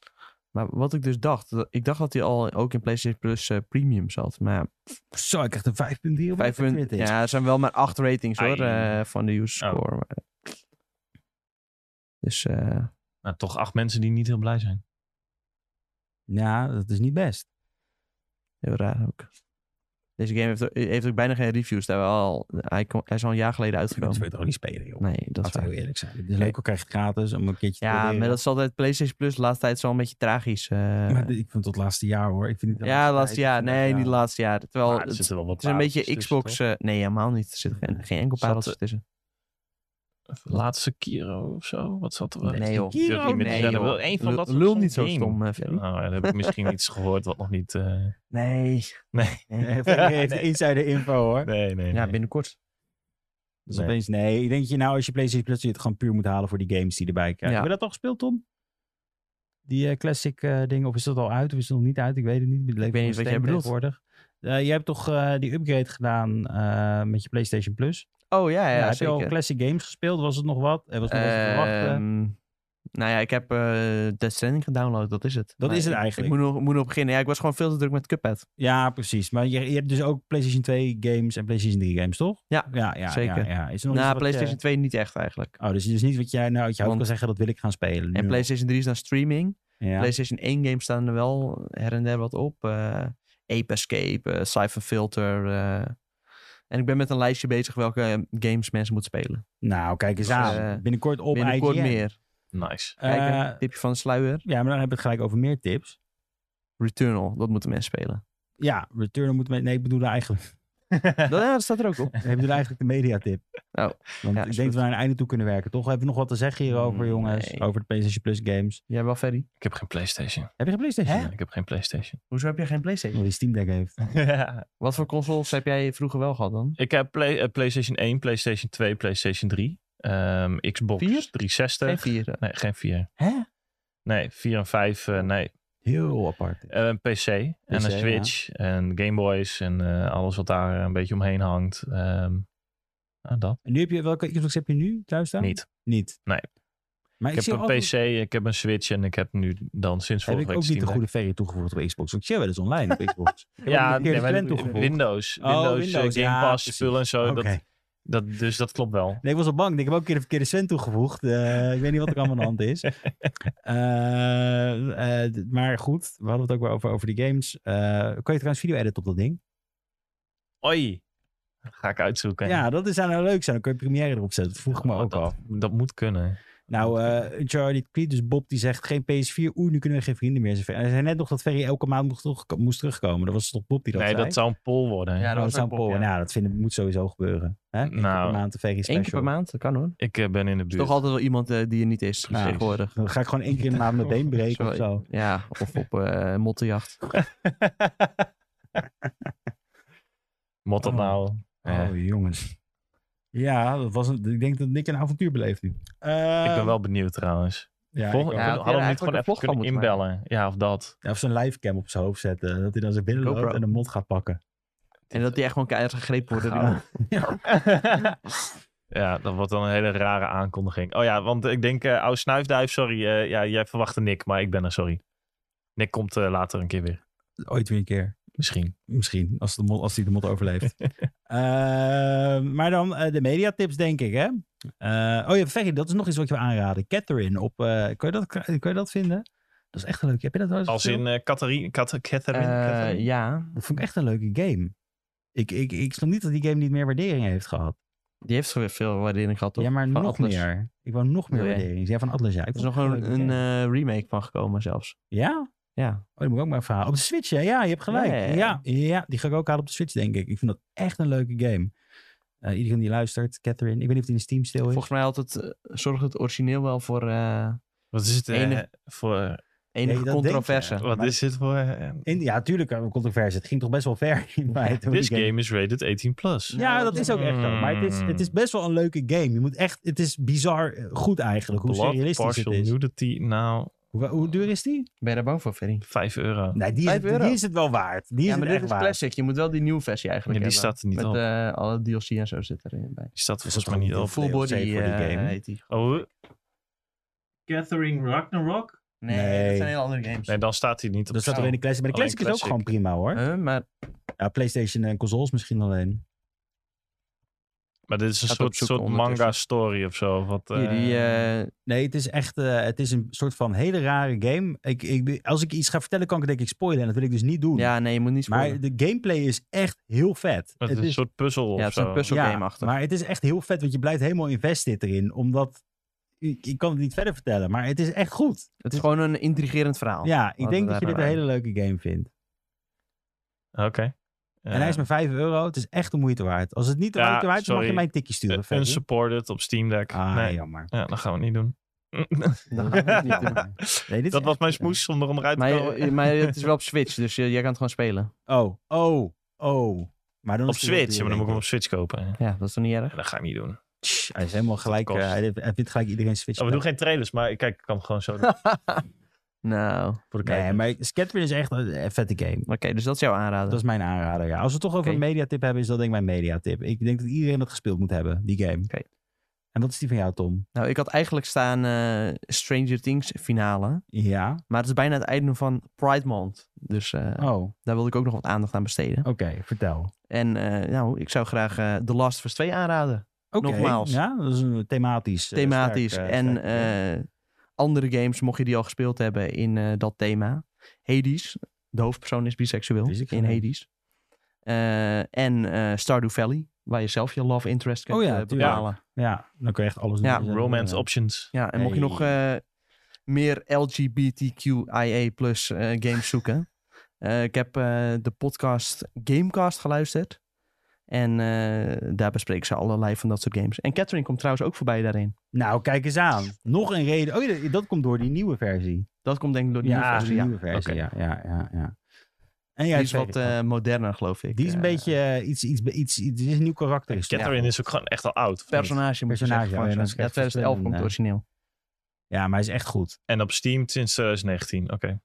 Maar wat ik dus dacht, dat- ik dacht dat hij al ook in PlayStation Plus eh, Premium zat. Maar ja,
Zo, ik krijg een 5.3 op
vijf punt,
Metacritic.
ja, er zijn wel maar acht ratings hoor,
Ai.
eh, van de user
Oh.
score. Maar- Dus eh,
Nou, toch acht mensen die niet heel blij zijn.
Ja, dat is niet best.
heel raar ook. Deze game heeft, heeft ook bijna geen reviews. Terwijl al, hij, kon- hij is al een jaar geleden
Dat wil
uitgekomen.
je toch niet spelen, joh.
Nee, Nou, dat
Laten
is
we
waar.
heel eerlijk zijn. Het is leuk, ook krijg je het gratis om een keertje te
Ja,
leren.
maar dat is altijd PlayStation Plus. De laatste tijd is al een beetje tragisch. eh.
Maar dit- ik vond het laatste jaar, hoor. Ik vind het
ja, laatste jaar. Nee, niet
laatste.
laatste jaar. Terwijl
Maar er
het,
zitten wel wat
het is een
pareltjes
beetje
tussen,
Xbox. eh, nee, helemaal niet. Er zit geen, geen enkel
Zat
pareltje
er-
tussen.
toch? Laatste Kiro of zo? Wat zat er wel?
eh, Nee, joh.
Ik durf niet meer te
Nee,
zeggen.
joh.
Wel, Een van
Lul-
dat soort
lul
soort
niet zo
game.
stom, eh, Ferry.
Nou, dan heb ik misschien iets gehoord wat nog niet... eh,
Nee.
Nee.
Nee, Ferry heeft de insider info, hoor.
Nee, nee,
Ja,
nee.
binnenkort.
Dus
Nee.
opeens, nee. Ik denk dat je nou, als je PlayStation Plus zit, gewoon puur moet halen voor die games die erbij krijgen. Heb
Ja.
je dat al gespeeld, Tom? Die eh, classic eh ding, of is dat al uit, of is dat nog niet uit? Ik weet het niet. Ik
weet niet wat jij bedoelt.
Tegenwoordig. Eh, jij hebt toch eh, die upgrade gedaan eh, met je PlayStation Plus? Nou,
Oh ja, ja,
heb
zeker.
je al classic games gespeeld? Was het nog wat? Er was nog wat te verwachten.
Ehm, nou ja, ik heb eh Death Stranding gedownload, dat is het.
Dat is het
ik-
eigenlijk.
Ik moet nog, moet nog beginnen. Ja, ik was gewoon veel te druk met Cuphead.
Ja, precies. Maar je, je hebt dus ook PlayStation 2 games en PlayStation 3 games, toch?
Ja,
ja, ja
zeker.
Ja, ja. Is er nog iets
Na
wat eh, je-
Nou, PlayStation 2 niet echt eigenlijk.
Oh, dus, dus niet wat jij nou uit je hoofd
Want-
kan zeggen, dat wil ik gaan spelen.
En
nu.
PlayStation 3 is dan streaming.
ja.
PlayStation 1 games staan er wel her en der wat op. Eh Ape Escape, eh, Cypher Filter. eh. En ik ben met een lijstje bezig welke eh, games mensen moeten spelen.
Nou, kijk eens
Dus,
aan.
eh,
binnenkort op
Binnenkort
IGN.
meer.
Nice.
Eh,
Kijk, een tipje van de sluier.
ja, maar dan hebben we het gelijk over meer tips.
Returnal, dat moeten mensen spelen.
Ja, Returnal moet... Met, nee, ik bedoel eigenlijk...
dat, ja, dat staat er ook op.
ik bedoel eigenlijk de mediatip.
Oh,
Want
ja,
ik denk
is
dat
goed.
we naar een einde toe kunnen werken, toch? Hebben we nog wat te zeggen hierover,
Mm,
jongens?
nee.
Over de PlayStation Plus games.
Jij wel, Ferry?
Ik heb geen PlayStation.
Heb je geen PlayStation?
Ik heb geen PlayStation.
Hoezo heb jij geen PlayStation?
Omdat die Steam Deck heeft.
Wat voor consoles heb jij vroeger wel gehad dan?
ik heb play, eh, PlayStation 1, PlayStation 2, PlayStation 3. ehm, Xbox
Vier?
360.
Geen vier. eh.
Nee, geen 4.
Hè?
Nee, 4 en 5, nee.
Heel apart.
Eh, Een PC, en een
ja.
Switch en Game Boys en eh, alles wat daar een beetje omheen hangt. Ehm, nou, dat
En nu heb je... Welke Xbox heb je nu thuis staan?
niet.
Niet?
Nee.
Maar
Ik,
zie
heb een
altijd-
PC, ik heb een Switch en ik heb nu dan sinds
Heb
vorige
ik ook
week
niet
Steam
de
Deck.
goede verrie toegevoegd op Xbox. Want ik zie wel eens online op Xbox. Ik heb ook
Ja,
een keer de
nee, maar
trend toegevoegd.
Windows, Windows,
Oh,
eh,
Windows,
Game
ja,
Pass
precies.
spullen en zo.
Oké.
Dat, dat, dus dat klopt wel.
Nee, ik was al bang. Ik heb ook een keer de verkeerde cent toegevoegd. Eh, ik weet niet wat er allemaal aan de hand is. Eh, eh, d- maar goed, we hadden het ook wel over, over die games. Eh, kan je trouwens video editen op dat ding?
Oei, Dat ga ik uitzoeken.
Ja, dat is zou nou leuk zijn. Dan kun je première erop zetten. Dat vroeg ik me
Oh,
ook
dat,
al.
Dat moet kunnen.
Nou, eh Uncharted Creed, dus Bob die zegt geen PS4. Oeh, nu kunnen we geen vrienden meer. zijn. En Hij zei net nog dat Ferry elke maand moest, terug- moest terugkomen. Dat was toch Bob die dat
nee,
zei?
dat zou een poll worden.
Ja,
Oh, dat
was
zou
ook
een
Bob,
poll.
ja.
Nou, dat vinden, moet sowieso gebeuren. Hè? Eén keer
Nou,
per maand een Ferry
Eén
special.
keer per maand, dat kan hoor.
Ik eh, ben in de
Er is
buurt.
toch altijd wel iemand eh, die er niet is
Precies.
tegenwoordig.
Dan ga ik gewoon één keer in de maand mijn been breken of
Sorry.
zo.
Ja, of op eh mottenjacht.
Moet dat
Oh.
nou? Eh,
Oh, jongens. Ja, dat was een, ik denk dat Nick een avontuur beleeft nu.
ik ben wel benieuwd trouwens.
Ehm, Ja,
Volg-
ik
Ja,
ook.
had
hadden
hij
we hem niet
eigenlijk
gewoon
een
even
vlog van
kunnen
moeten
inbellen? Ja, of dat.
Ja, of zo'n livecam op zijn hoofd zetten. Dat hij dan zijn binnen loopt
GoPro.
en een mond gaat pakken.
En dat die echt gewoon keihard gegrepen worden.
Ja.
Ja.
ja, dat wordt dan een hele rare aankondiging. Oh ja, want ik denk, eh oude snuifduif, sorry. eh, ja, jij verwachtte Nick, maar ik ben er, sorry. Nick komt eh, later een keer weer.
Ooit weer een keer.
Misschien.
Misschien, als, de mot, als hij de mot overleeft. Eh, maar dan eh, de mediatips, denk ik, hè? Eh, oh ja, Ferry, dat is nog iets wat je wil aanraden. Catherine op... eh kun, je dat, kun je dat vinden? Dat is echt een leuke... Heb je dat wel eens
Als
gespeeld?
in eh Catherine, Kat- Catherine, Catherine?
Eh, ja,
Dat vond ik echt een leuke game. Ik, ik, ik snap niet dat die game niet meer waardering heeft gehad.
die heeft zo weer veel waardering gehad. toch?
ja, maar
Van
nog
Atlas.
meer. Ik wou nog meer
Nee.
waardering. Ja, van Atlas, ja. Ik
Er is
vond
nog
het echt
een,
leuke
een
game.
eh, remake van gekomen zelfs.
Ja?
Ja,
Oh, die moet ik ook maar verhalen. Op de Switch, hè? Ja, je hebt gelijk.
Ja.
Ja, ja, die ga ik ook halen op de Switch, denk ik. Ik vind dat echt een leuke game. Eh, iedereen die luistert, Catherine. Ik weet niet of die in Steam stil is.
volgens mij had het, eh, zorgde het origineel wel voor eh,
Wat is het eh,
Enig-
voor...
Enige
dat denk je,
controverse.
ja.
Wat
Maar-
is dit voor... eh,
In, ja, tuurlijk, eh, controverse. Het ging toch best wel ver in mij. toen
This
die game-
game is rated 18+. Plus.
Ja, dat is ook echt zo. Maar het is, het is best wel een leuke game. Je moet echt, het is bizar eh, goed eigenlijk hoe
Blood,
realistisch het
partial
is.
nudity, nou,
Hoe, hoe duur is die?
Ben je daar bang voor, Ferry?
5 euro.
Nee, die is,
Vijf
het-
euro.
die is het wel waard. Die is
Ja, maar
het
dit
echt
is
waard. Dus
classic. Je moet wel die nieuwe versie
Ja,
eigenlijk
die
hebben.
staat er niet
Met
op.
eh, alle DLC en zo zit erin bij.
Die staat er
Is
volgens
dat
mij niet
dan
op.
Full
DLC
body
voor die
eh,
game?
heet die.
Oh, Catherine Ragnarok?
Nee,
Nee.
dat zijn hele andere games.
Nee, dan staat hij niet op.
Dat staat
staan.
alleen de classic. Maar de
Alleen
classic, is ook gewoon
classic.
prima hoor.
Huh, maar
Ja, PlayStation en consoles misschien alleen.
Maar dit is een
Gaat
soort,
opzoeken
soort
ondertussen.
manga-story of zo. Wat,
hier, die,
eh,
eh,
Nee, het is echt eh, het is een soort van hele rare game. Ik, ik, als ik iets ga vertellen, kan ik het denk ik spoilen. En dat wil ik dus niet doen.
ja, nee, je moet niet
maar
spoilen.
de gameplay is echt heel vet.
het is een soort puzzel
Ja,
of
het is
zo.
een puzzelgame achter.
maar het is echt heel vet, want je blijft helemaal invested erin. Omdat, ik, ik kan het niet verder vertellen, maar het is echt goed.
Het is gewoon een intrigerend verhaal.
Ja, ik
Laten
denk
we
dat je
daar
dit een
maar-
hele leuke game vindt.
Oké. Eh,
En hij is maar 5 euro. Het is echt de moeite waard. Als het niet de
Ja,
moeite waard is, mag
sorry.
je mij een tikje
eh,
sturen. Ferry.
unsupported op Steam Deck.
Ah,
nee, ja.
jammer.
dat gaan we niet doen.
Dan gaan we het niet doen.
Nee, dit is
dat was
echt- eh,
mijn smoes om er onderuit te komen.
Maar, eh, maar het is wel op Switch, dus je- jij kan het gewoon spelen.
Oh, oh, oh. Maar dan
Op
is het heel
Switch, ja, maar dan moet ik
duur,
hem op Switch kopen.
Ja, dat is toch niet erg?
Ja, dat ga ik niet doen.
Tss, Hij is helemaal gelijk. eh,
kost.
hij, hij vindt gelijk iedereen Switch.
Oh, we doen geen trailers, maar kijk, ik kan het gewoon zo doen
Nou, oké,
voor de kijker.
nee, maar Scatman is echt een eh, vette game.
dus dat is jouw aanrader.
Dat is mijn aanrader. Ja. Als we het toch over
Oké.
een mediatip hebben, is dat denk ik mijn mediatip. Ik denk dat iedereen dat gespeeld moet hebben, die game.
Oké.
En wat is die van jou, Tom?
Nou, ik had eigenlijk staan eh, Stranger Things finale.
Ja.
Maar het is bijna het einde van Pride Month. Dus eh,
Oh, oké.
daar wilde ik ook nog wat aandacht aan besteden.
Vertel.
En eh, nou, ik zou graag eh, The Last of Us 2 aanraden.
Oké.
Nogmaals.
Ja, dat is een thematisch. eh,
Thematisch.
sterk, eh,
en
sterk game.
eh, andere games, mocht je die al gespeeld hebben in eh, dat thema. Hades. De hoofdpersoon is biseksueel
Wist ik
in
gewoon.
Hades. Eh, en eh, Stardew Valley, waar je zelf je love interest kunt
Oh ja,
eh,
tuurlijk.
bepalen.
ja, dan kun je echt alles
Ja.
doen.
Romance
Ja.
options.
Ja, en mocht je
Hey.
nog eh, meer LGBTQIA plus games zoeken. Eh, ik heb eh, de podcast Gamecast geluisterd. En eh, daar bespreken ze allerlei van dat soort games. En Catherine komt trouwens ook voorbij daarin.
Nou, kijk eens aan. Nog een reden. Oh, ja, dat komt door die nieuwe versie.
Dat komt denk ik door die nieuwe versie,
die
ja.
nieuwe versie.
Oké.
Ja, ja, ja, ja. En jij
Die is wat
Ferry?
eh, moderner, geloof ik.
Die is een
Eh,
beetje eh, iets, iets, iets, iets, is een nieuw karakter. is het.
Catherine is ook gewoon echt al oud. of niet?
Personage moet je
Personage,
zeggen.
oh ja,
van-
dat is
ja,
echt
2011 komt het
verschillend,
origineel.
Ja, maar hij is echt goed.
En op Steam sinds 2019. Oké.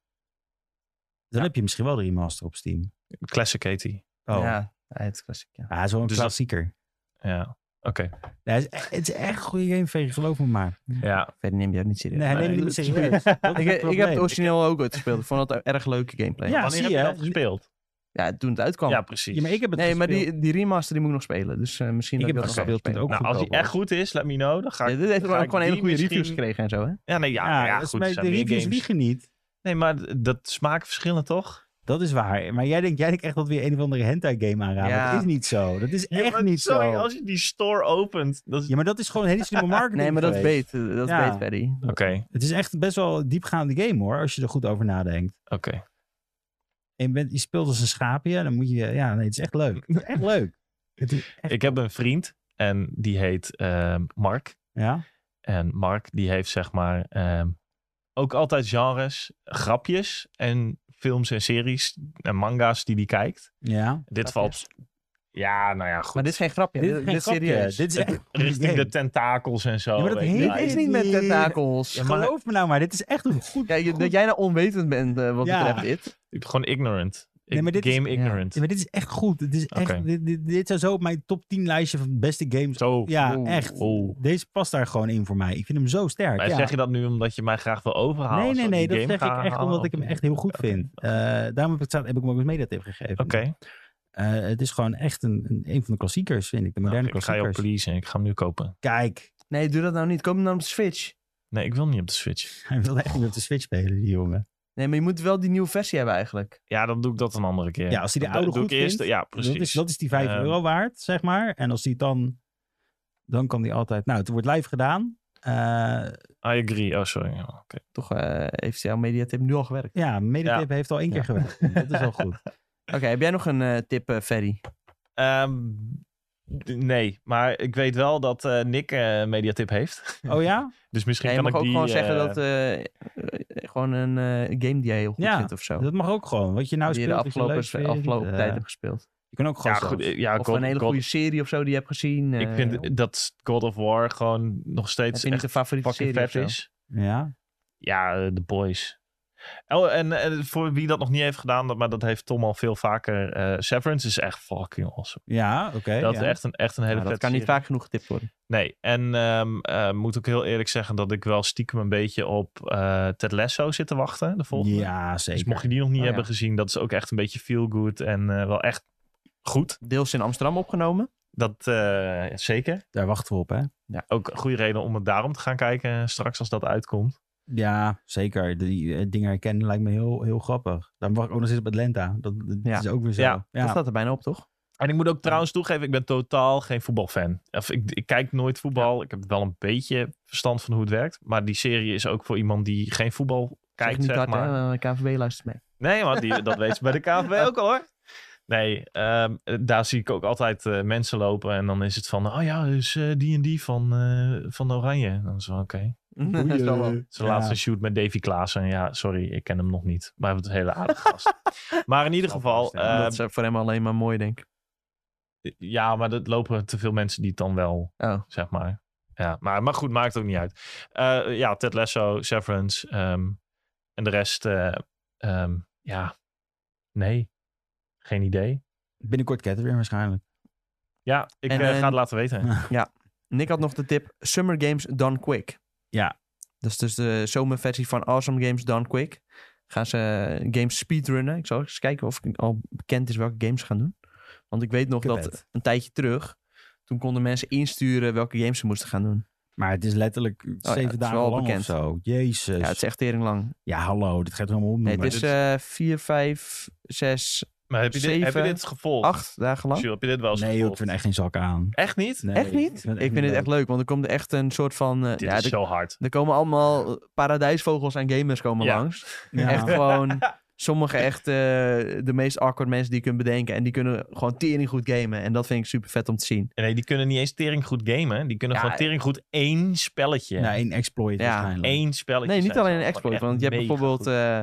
Dan heb je misschien wel de remaster op Steam.
Classic heet die.
Oh, ja.
Ja, het is klassiek, ja.
hij is wel een
Dus dat-
klassieker.
Ja. Oké.
Nee, hij is echt- het is echt een goede game, Ferry, geloof me maar.
Ja.
Verder neem je ook niet serieus.
Nee, hij
nee,
neemt het niet
dat-
serieus. Dat is
ik, ik heb
probleem.
het origineel ook uitgespeeld. Ik vond dat een erg leuke gameplay.
Ja,
Wanneer
zie
heb
je,
je
hè?
dat gespeeld?
Ja, toen het uitkwam.
Ja, precies.
Ja, maar ik heb het
Nee, maar
gespeeld.
die, die remaster die moet ik nog spelen. Dus eh, misschien
Ik
dat
heb
ik
het
dat nog
gespeeld toen het
wel spelen.
ook
Nou, als die
goedkoop
echt
was.
goed is, let me know. Dan ga
Ja,
ik...
dit heeft
ga ik
gewoon hele
die
goede
misschien-
reviews gekregen en zo, hè?
Ja, nee, ja, ja,
dat is
goed.
met
er
de
zijn meer
reviews
games.
wiegen niet.
Nee, maar d- dat smaken verschillen toch?
Dat is waar. Maar jij denkt, jij denkt echt dat we een of andere hentai game aanraden.
Ja.
Dat is niet zo. Dat is echt
maar
niet
sorry,
zo.
als je die store opent... Dat is...
Ja, maar dat is gewoon een hele slimme marketing
Nee, maar dat is
geweest.
beet. eh, Dat is
Ja.
beet, Ferry.
Oké,
Het is echt best wel een diepgaande game hoor, als je er goed over nadenkt.
oké.
En je, bent, je speelt als een schaapje. Dan moet je. Ja, nee, het is echt leuk. Het is echt leuk. Het is echt,
Ik heb een vriend en die heet eh, Mark.
ja.
En Mark die heeft zeg maar ehm, ook altijd genres, grapjes en films en series en manga's die hij kijkt.
Ja.
Dit
Grapjes.
valt... Ja, nou ja, goed.
Maar dit is geen grapje. Dit, dit is
grapje.
serieus.
Dit is echt. een goede
Richting
game.
de tentakels en zo.
Ja, maar dat
weet je.
hele-
Dit is niet met
Nee.
tentakels.
Ja, maar- Geloof me nou maar, dit is echt een goed.
Ja, je-
goed-
dat jij nou onwetend bent eh, wat
Ja.
betreft dit.
Ik ben gewoon ignorant. Ik-
Nee, maar dit is-
game
ja.
ignorant.
Ja, maar dit is echt goed. Dit, is echt,
Oké.
dit, dit, dit zou zo op mijn top 10 lijstje van beste games.
Zo.
Ja,
Oeh.
echt.
Oeh.
Deze past daar gewoon in voor mij. Ik vind hem zo sterk.
oh. Maar
ja.
zeg je dat nu omdat je mij graag wil overhalen?
nee, nee,
zodat
nee.
die
Dat
game
zeg ik
ga
echt
halen?
omdat ik hem echt heel goed
Oké,
vind.
oké.
Eh, daarom heb ik, het- heb ik hem ook als mediatip gegeven.
Oké,
Eh, het is gewoon echt een, een, een van de klassiekers, vind ik. De moderne
Nou, ik ga jou
klassiekers.
pleasen. Ik ga hem nu kopen.
Kijk,
Nee, doe dat nou niet. Kom dan op de Switch.
Nee, ik wil niet op de Switch.
hij wilde echt niet op de Switch spelen, die jongen.
Nee, maar je moet wel die nieuwe versie hebben eigenlijk.
Ja, dan doe ik dat een andere keer.
Ja, als hij de
Dan
oude
doe
goed
ik eerst-
vindt,
Ja,
Dat
precies.
is, dat is die 5
Ehm.
euro waard, zeg maar. En als die het dan... Dan kan die altijd... Nou, het wordt live gedaan. Eh,
I agree. Oh, sorry. Ja, oké.
Toch eh heeft jouw mediatip nu al gewerkt.
ja, Medetip heeft al één keer
Ja.
gewerkt. Dat is al goed.
Oké, heb jij nog een eh, tip, eh, Ferry?
Ehm, D- Nee, maar ik weet wel dat eh, Nick eh, mediatip heeft.
Oh ja?
Dus misschien
Nee, je
kan
mag
ik
ook
die,
gewoon zeggen
eh,
dat eh, eh, gewoon een eh, game die jij heel goed
Ja,
vindt of zo.
Dat mag ook gewoon. Wat je nou
die je
speelt,
de
wat je
afgelopen,
leuk vindt,
afgelopen
eh,
tijd hebt gespeeld.
Je kan ook
ja,
gewoon
goed,
zelf.
ja,
of
God-
een hele
God-
goede serie of zo die je hebt gezien.
Ik
eh, heb
vind dat God of War gewoon nog steeds
je niet
echt
een favoriete
fucking
serie of
vet
zo?
is.
Ja.
Ja, eh, The Boys. Oh, en, eh, voor wie dat nog niet heeft gedaan, dat- maar dat heeft Tom al veel vaker. eh, Severance is echt fucking awesome.
Ja, oké.
dat
ja.
is echt een, echt een hele
Nou, dat
vette
kan niet
serie.
vaak genoeg getipt worden.
Nee, en ehm, eh, moet ook heel eerlijk zeggen dat ik wel stiekem een beetje op eh Ted Lasso zit te wachten, de volgende.
Ja, zeker.
Dus mocht je die nog niet
Oh,
hebben
ja.
gezien, dat is ook echt een beetje feel good en eh, wel echt goed.
Deels in Amsterdam opgenomen.
Dat eh, zeker.
Daar wachten we op, hè?
Ook een goede reden om het daarom te gaan kijken eh, straks als dat uitkomt.
Ja, zeker. Die eh, dingen herkennen lijkt me heel, heel grappig. Dan wacht ik ook nog steeds op Atlanta. Dat, dat
Ja.
is ook weer zo.
Ja,
Dat staat er bijna op, toch?
En ik moet ook trouwens toegeven, ik ben totaal geen voetbalfan. Of ik, ik kijk nooit voetbal. Ik heb wel een beetje verstand van hoe het werkt. Maar die serie is ook voor iemand die geen voetbal
Zeg
kijkt,
niet
zeg
hard,
maar.
hè, eh, KNVB luistert mee.
Nee, want die, dat weten ze bij de KNVB ook al hoor. Nee, ehm, daar zie ik ook altijd eh, mensen lopen en dan is het van, oh ja, dus eh, die en die van, eh, van Oranje. Dan is het wel oké.
Dat is wel wel.
Zijn laatste shoot met Davy Klaassen. Ja, sorry, ik ken hem nog niet. Maar hij was een hele aardige gast. Maar in ieder
Zal
geval,
voorstellen.
eh,
dat is voor hem alleen maar mooi, denk ik.
ehm, ja, maar er lopen te veel mensen die het dan wel,
Oh.
zeg maar. Ja, maar, maar goed, maakt ook niet uit. Eh, ja, Ted Lasso, Severance ehm, en de rest, eh, ehm, ja, nee, geen idee.
Binnenkort Catherine waarschijnlijk.
Ja, ik
En,
eh,
en-
ga het laten weten.
Nick had nog de tip Summer Games Done Quick.
Ja.
Dat is dus de zomerversie van Awesome Games Done Quick. Gaan ze eh, games speedrunnen. Ik zal eens kijken of ik al bekend is welke games ze gaan doen. Want ik weet nog dat
Cuphead.
een tijdje terug... toen konden mensen insturen welke games ze moesten gaan doen.
Maar het is letterlijk zeven
Oh het is
dagen
wel
lang
bekend.
of zo. Jezus.
Ja,
Ja,
het is echt tering lang.
hallo. Dit gaat helemaal om.
Nee, het is eh 4, 5, 6,
Maar heb je, dit, heb je
Zeven,
dit gevolgd?
8 dagen lang.
Jules, heb je dit wel eens
nee joh, ik
gevolgd?
vind er echt geen zak aan.
Echt niet?
Nee,
echt niet? Ik vind, het echt leuk, want er komt echt een soort van... eh,
Dit
ja,
is
er,
zo hard.
er komen allemaal paradijsvogels en gamers komen
Ja.
langs.
Ja.
Echt gewoon. Sommige echt eh, de meest awkward mensen die je kunt bedenken. En die kunnen gewoon tering goed gamen. En dat vind ik super vet om te zien.
Nee, die kunnen niet eens tering goed gamen. Die kunnen
Ja, eh,
gewoon tering goed één spelletje.
Nou, één exploit
Ja,
waarschijnlijk.
Eén spelletje.
Nee, niet
zijn ze
alleen een
gewoon
exploit.
echt
Want je hebt
mega
bijvoorbeeld.
goed.
eh,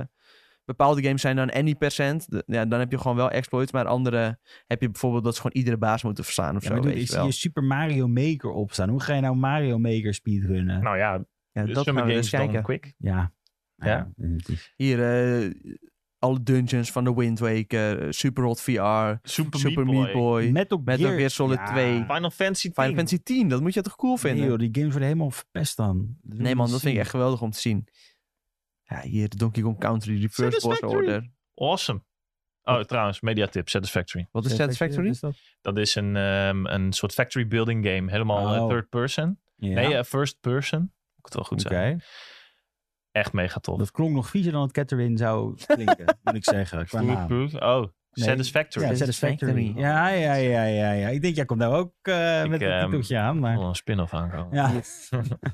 bepaalde games zijn dan any percent. De- Ja, dan heb je gewoon wel exploits. Maar andere heb je bijvoorbeeld dat ze gewoon iedere baas moeten verslaan of
Ja,
zo.
maar dude,
weet
ik
je
zie
wel.
je Super Mario Maker opstaan. Hoe ga je nou Mario Maker speedrunnen?
Nou ja,
Ja,
dus
eh, dat
Summer
gaan we eens
Games dan
kijken.
quick.
ja.
Ja.
het is-
Hier, eh, alle dungeons van de Wind Waker. eh, Super Hot VR.
Super,
Super Meat Boy.
Metal Gear.
Metal Gear Solid 2. Final
Final Fantasy
Final
10.
Fantasy 10. Dat moet je toch cool
Nee,
vinden?
joh, die games worden helemaal verpest dan. wil
Nee
je
man,
niet
dat vind ik
zien.
echt geweldig om te zien. Ja, hier de Donkey Kong Country Reverse Boss
Satisfactory.
Order.
Awesome. Oh, trouwens, mediatip, Satisfactory.
Wat is Satisfactory?
Is dat?
Dat is een, ehm, een soort factory building game. Helemaal eh,
Oh.
third person.
Ja.
Nee, eh, first person. Moet het wel goed zijn.
Oké.
Echt mega tof.
Dat klonk nog viezer dan het Catherine zou klinken, moet ik zeggen. Qua naam.
Food proof. Oh,
Nee.
Satisfactory.
Ja, Satisfactory.
Satisfactory.
Ja, ja, ja, ja, ja. Ik denk, jij komt nou ook eh,
Ik,
met een
ehm,
titeltje aan.
Ik
Maar,
wil een spin-off aankomen.
ja.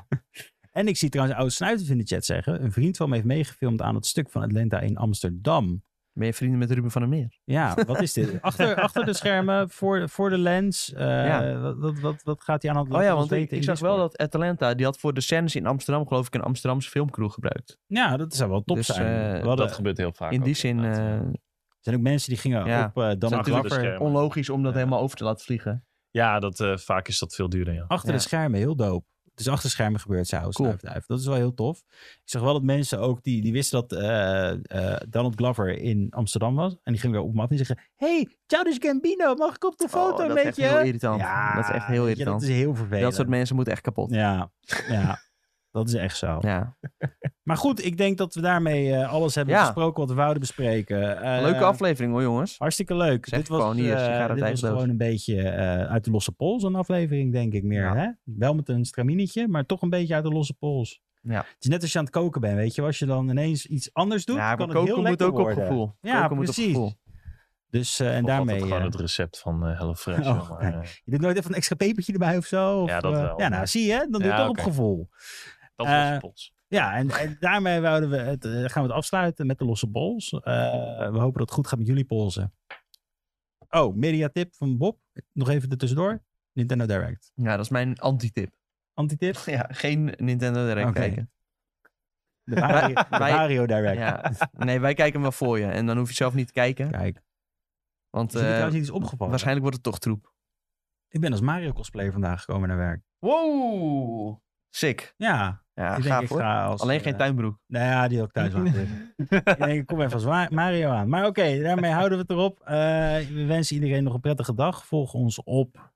en ik zie trouwens oud snuiters dus in de chat zeggen. Een vriend van me heeft meegefilmd aan het stuk van Atlanta in Amsterdam.
Ben je vrienden met Ruben van der Meer?
Ja, wat is dit? Achter, achter de schermen, voor, voor de lens. eh,
Ja.
wat, wat, wat, wat gaat hij aan het
Oh ja,
ons
want ik,
weten
ik
in
zag wel
Discord?
dat Atalanta, die had voor de scènes in Amsterdam geloof ik een Amsterdamse filmcrew gebruikt.
Ja, dat zou wel top
Dus,
zijn.
eh,
We
Dat,
hadden-
gebeurt heel vaak.
in die
ook,
zin
inderdaad.
eh,
er zijn ook mensen die gingen
Ja.
op eh dan
Zijn
achter,
natuurlijk
achter,
de
de
schermen.
onlogisch om dat
Ja.
helemaal over te laten vliegen.
Ja, dat, eh, vaak is dat veel duurder. Ja.
Ja.
schermen, heel dope. Het is achter de schermen gebeurd, zou
Cool.
snuifduif. Dat is wel heel tof. Ik zag wel dat mensen ook, die, die wisten dat eh, eh, Donald Glover in Amsterdam was. En die gingen daar op mat en zeggen, hey, Childish Gambino, mag ik op de foto
Oh, dat
met
is echt
je?
heel irritant.
Ja,
dat is echt heel
weet je,
irritant.
dat is heel
dat,
vervelend.
soort mensen moeten echt kapot. Ja.
Ja, ja. Dat is echt zo. Maar goed, ik denk dat we daarmee eh, alles hebben
Ja.
besproken wat we wouden bespreken. Eh,
Leuke aflevering hoor jongens.
Hartstikke leuk.
Zeg
dit was,
gewoon hier,
eh,
sigaren
dit was
dijkloos.
gewoon een beetje eh, uit de losse pols, een aflevering, denk ik meer.
Ja.
Hè? Wel met een straminetje, maar toch een beetje uit de losse pols.
Ja.
Het is net als je aan het koken bent, weet je. Als je dan ineens iets anders doet,
ja,
kan
maar
het heel
koken moet
lekker
ook op
worden.
gevoel.
Ja,
Koken moet op
precies.
gevoel.
Dus, eh, en
Of altijd
daarmee...
gewoon
eh,
het recept van eh HelloFresh.
Oh,
joh, maar, eh,
je doet nooit even een extra pepertje erbij of zo? Of,
Ja, dat
eh,
wel.
ja, nou, zie je, dan doe je
Ja,
toch
oké.
op gevoel.
dat
Eh,
was pots.
Ja, en, en daarmee wouden we het, eh, gaan we het afsluiten met de losse pols. Eh, we hopen dat het goed gaat met jullie polsen. Oh, mediatip van Bob. Nog even ertussendoor. Nintendo Direct.
Ja, dat is mijn anti-tip.
Antitip?
Ja, geen Nintendo Direct
Oké.
kijken.
De Mario, de
Wij-
Mario Direct.
Ja. Nee, wij kijken hem wel voor je. En dan hoef je zelf niet te kijken.
Kijk,
Want
is er
eh,
trouwens niet iets opgevallen?
waarschijnlijk wordt het toch troep.
Ik ben als Mario cosplayer vandaag gekomen naar werk.
Wow! Sick.
Ja,
Ja,
ik denk
gaaf
ik
hoor.
ga als...
Alleen
eh,
geen tuinbroek.
Nou ja, die ook thuis aan. ik denk, ik kom even als Wa- Mario aan. Maar oké, daarmee houden we het erop. Eh, we wensen iedereen nog een prettige dag. Volg ons op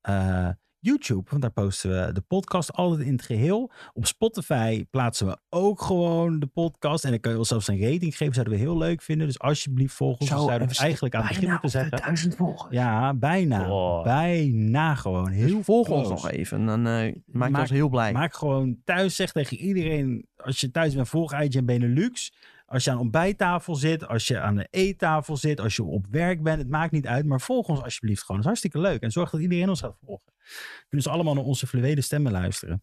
eh, YouTube, want daar posten we de podcast altijd in het geheel. Op Spotify plaatsen we ook gewoon de podcast. En dan kun je ons zelfs een rating geven, zouden we heel leuk vinden. Dus alsjeblieft volg ons.
Zo,
dat
en
zouden
we
we eigenlijk aan het begin moeten zeggen.
duizend volgers.
Ja, bijna.
Oh.
Bijna gewoon. Heel
Dus volg ons
close.
nog even. Dan eh maak je
Maak-
ons heel blij.
Maak gewoon thuis, zeg tegen iedereen, als je thuis bent, volg IGN Benelux. Als je aan de ontbijttafel zit, als je aan de eettafel zit, als je op werk bent, het maakt niet uit. Maar volg ons alsjeblieft gewoon. Dat is hartstikke leuk. En zorg dat iedereen ons gaat volgen. Kunnen ze allemaal naar onze fluwele stemmen luisteren.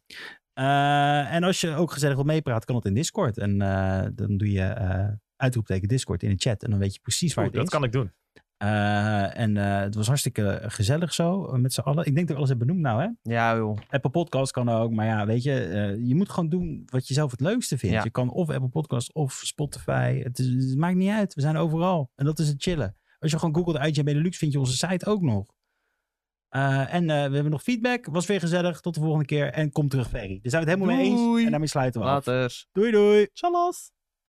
Eh, en als je ook gezellig wilt meepraten, kan het in Discord. En eh, dan doe je eh, uitroepteken Discord in de chat. En dan weet je precies waar
Oeh,
het
dat
is.
kan ik doen.
Eh, en eh, het was hartstikke gezellig zo, eh, met z'n allen. Ik denk dat ik alles heb benoemd nou, hè?
Ja joh.
Apple Podcast kan ook. Maar ja, weet je, eh, je moet gewoon doen wat je zelf het leukste vindt.
Ja.
Je kan of Apple Podcast of Spotify. Het, is- het maakt niet uit. We zijn overal. En dat is het chillen. Als je gewoon googelt IGN Benelux, vind je onze site ook nog. Eh, en eh, we hebben nog feedback. Was weer gezellig. Tot de volgende keer. En kom terug, Ferry. Daar zijn we het helemaal mee eens.
Doei.
En daarmee sluiten we af.
Later.
Doei, doei.
Salas!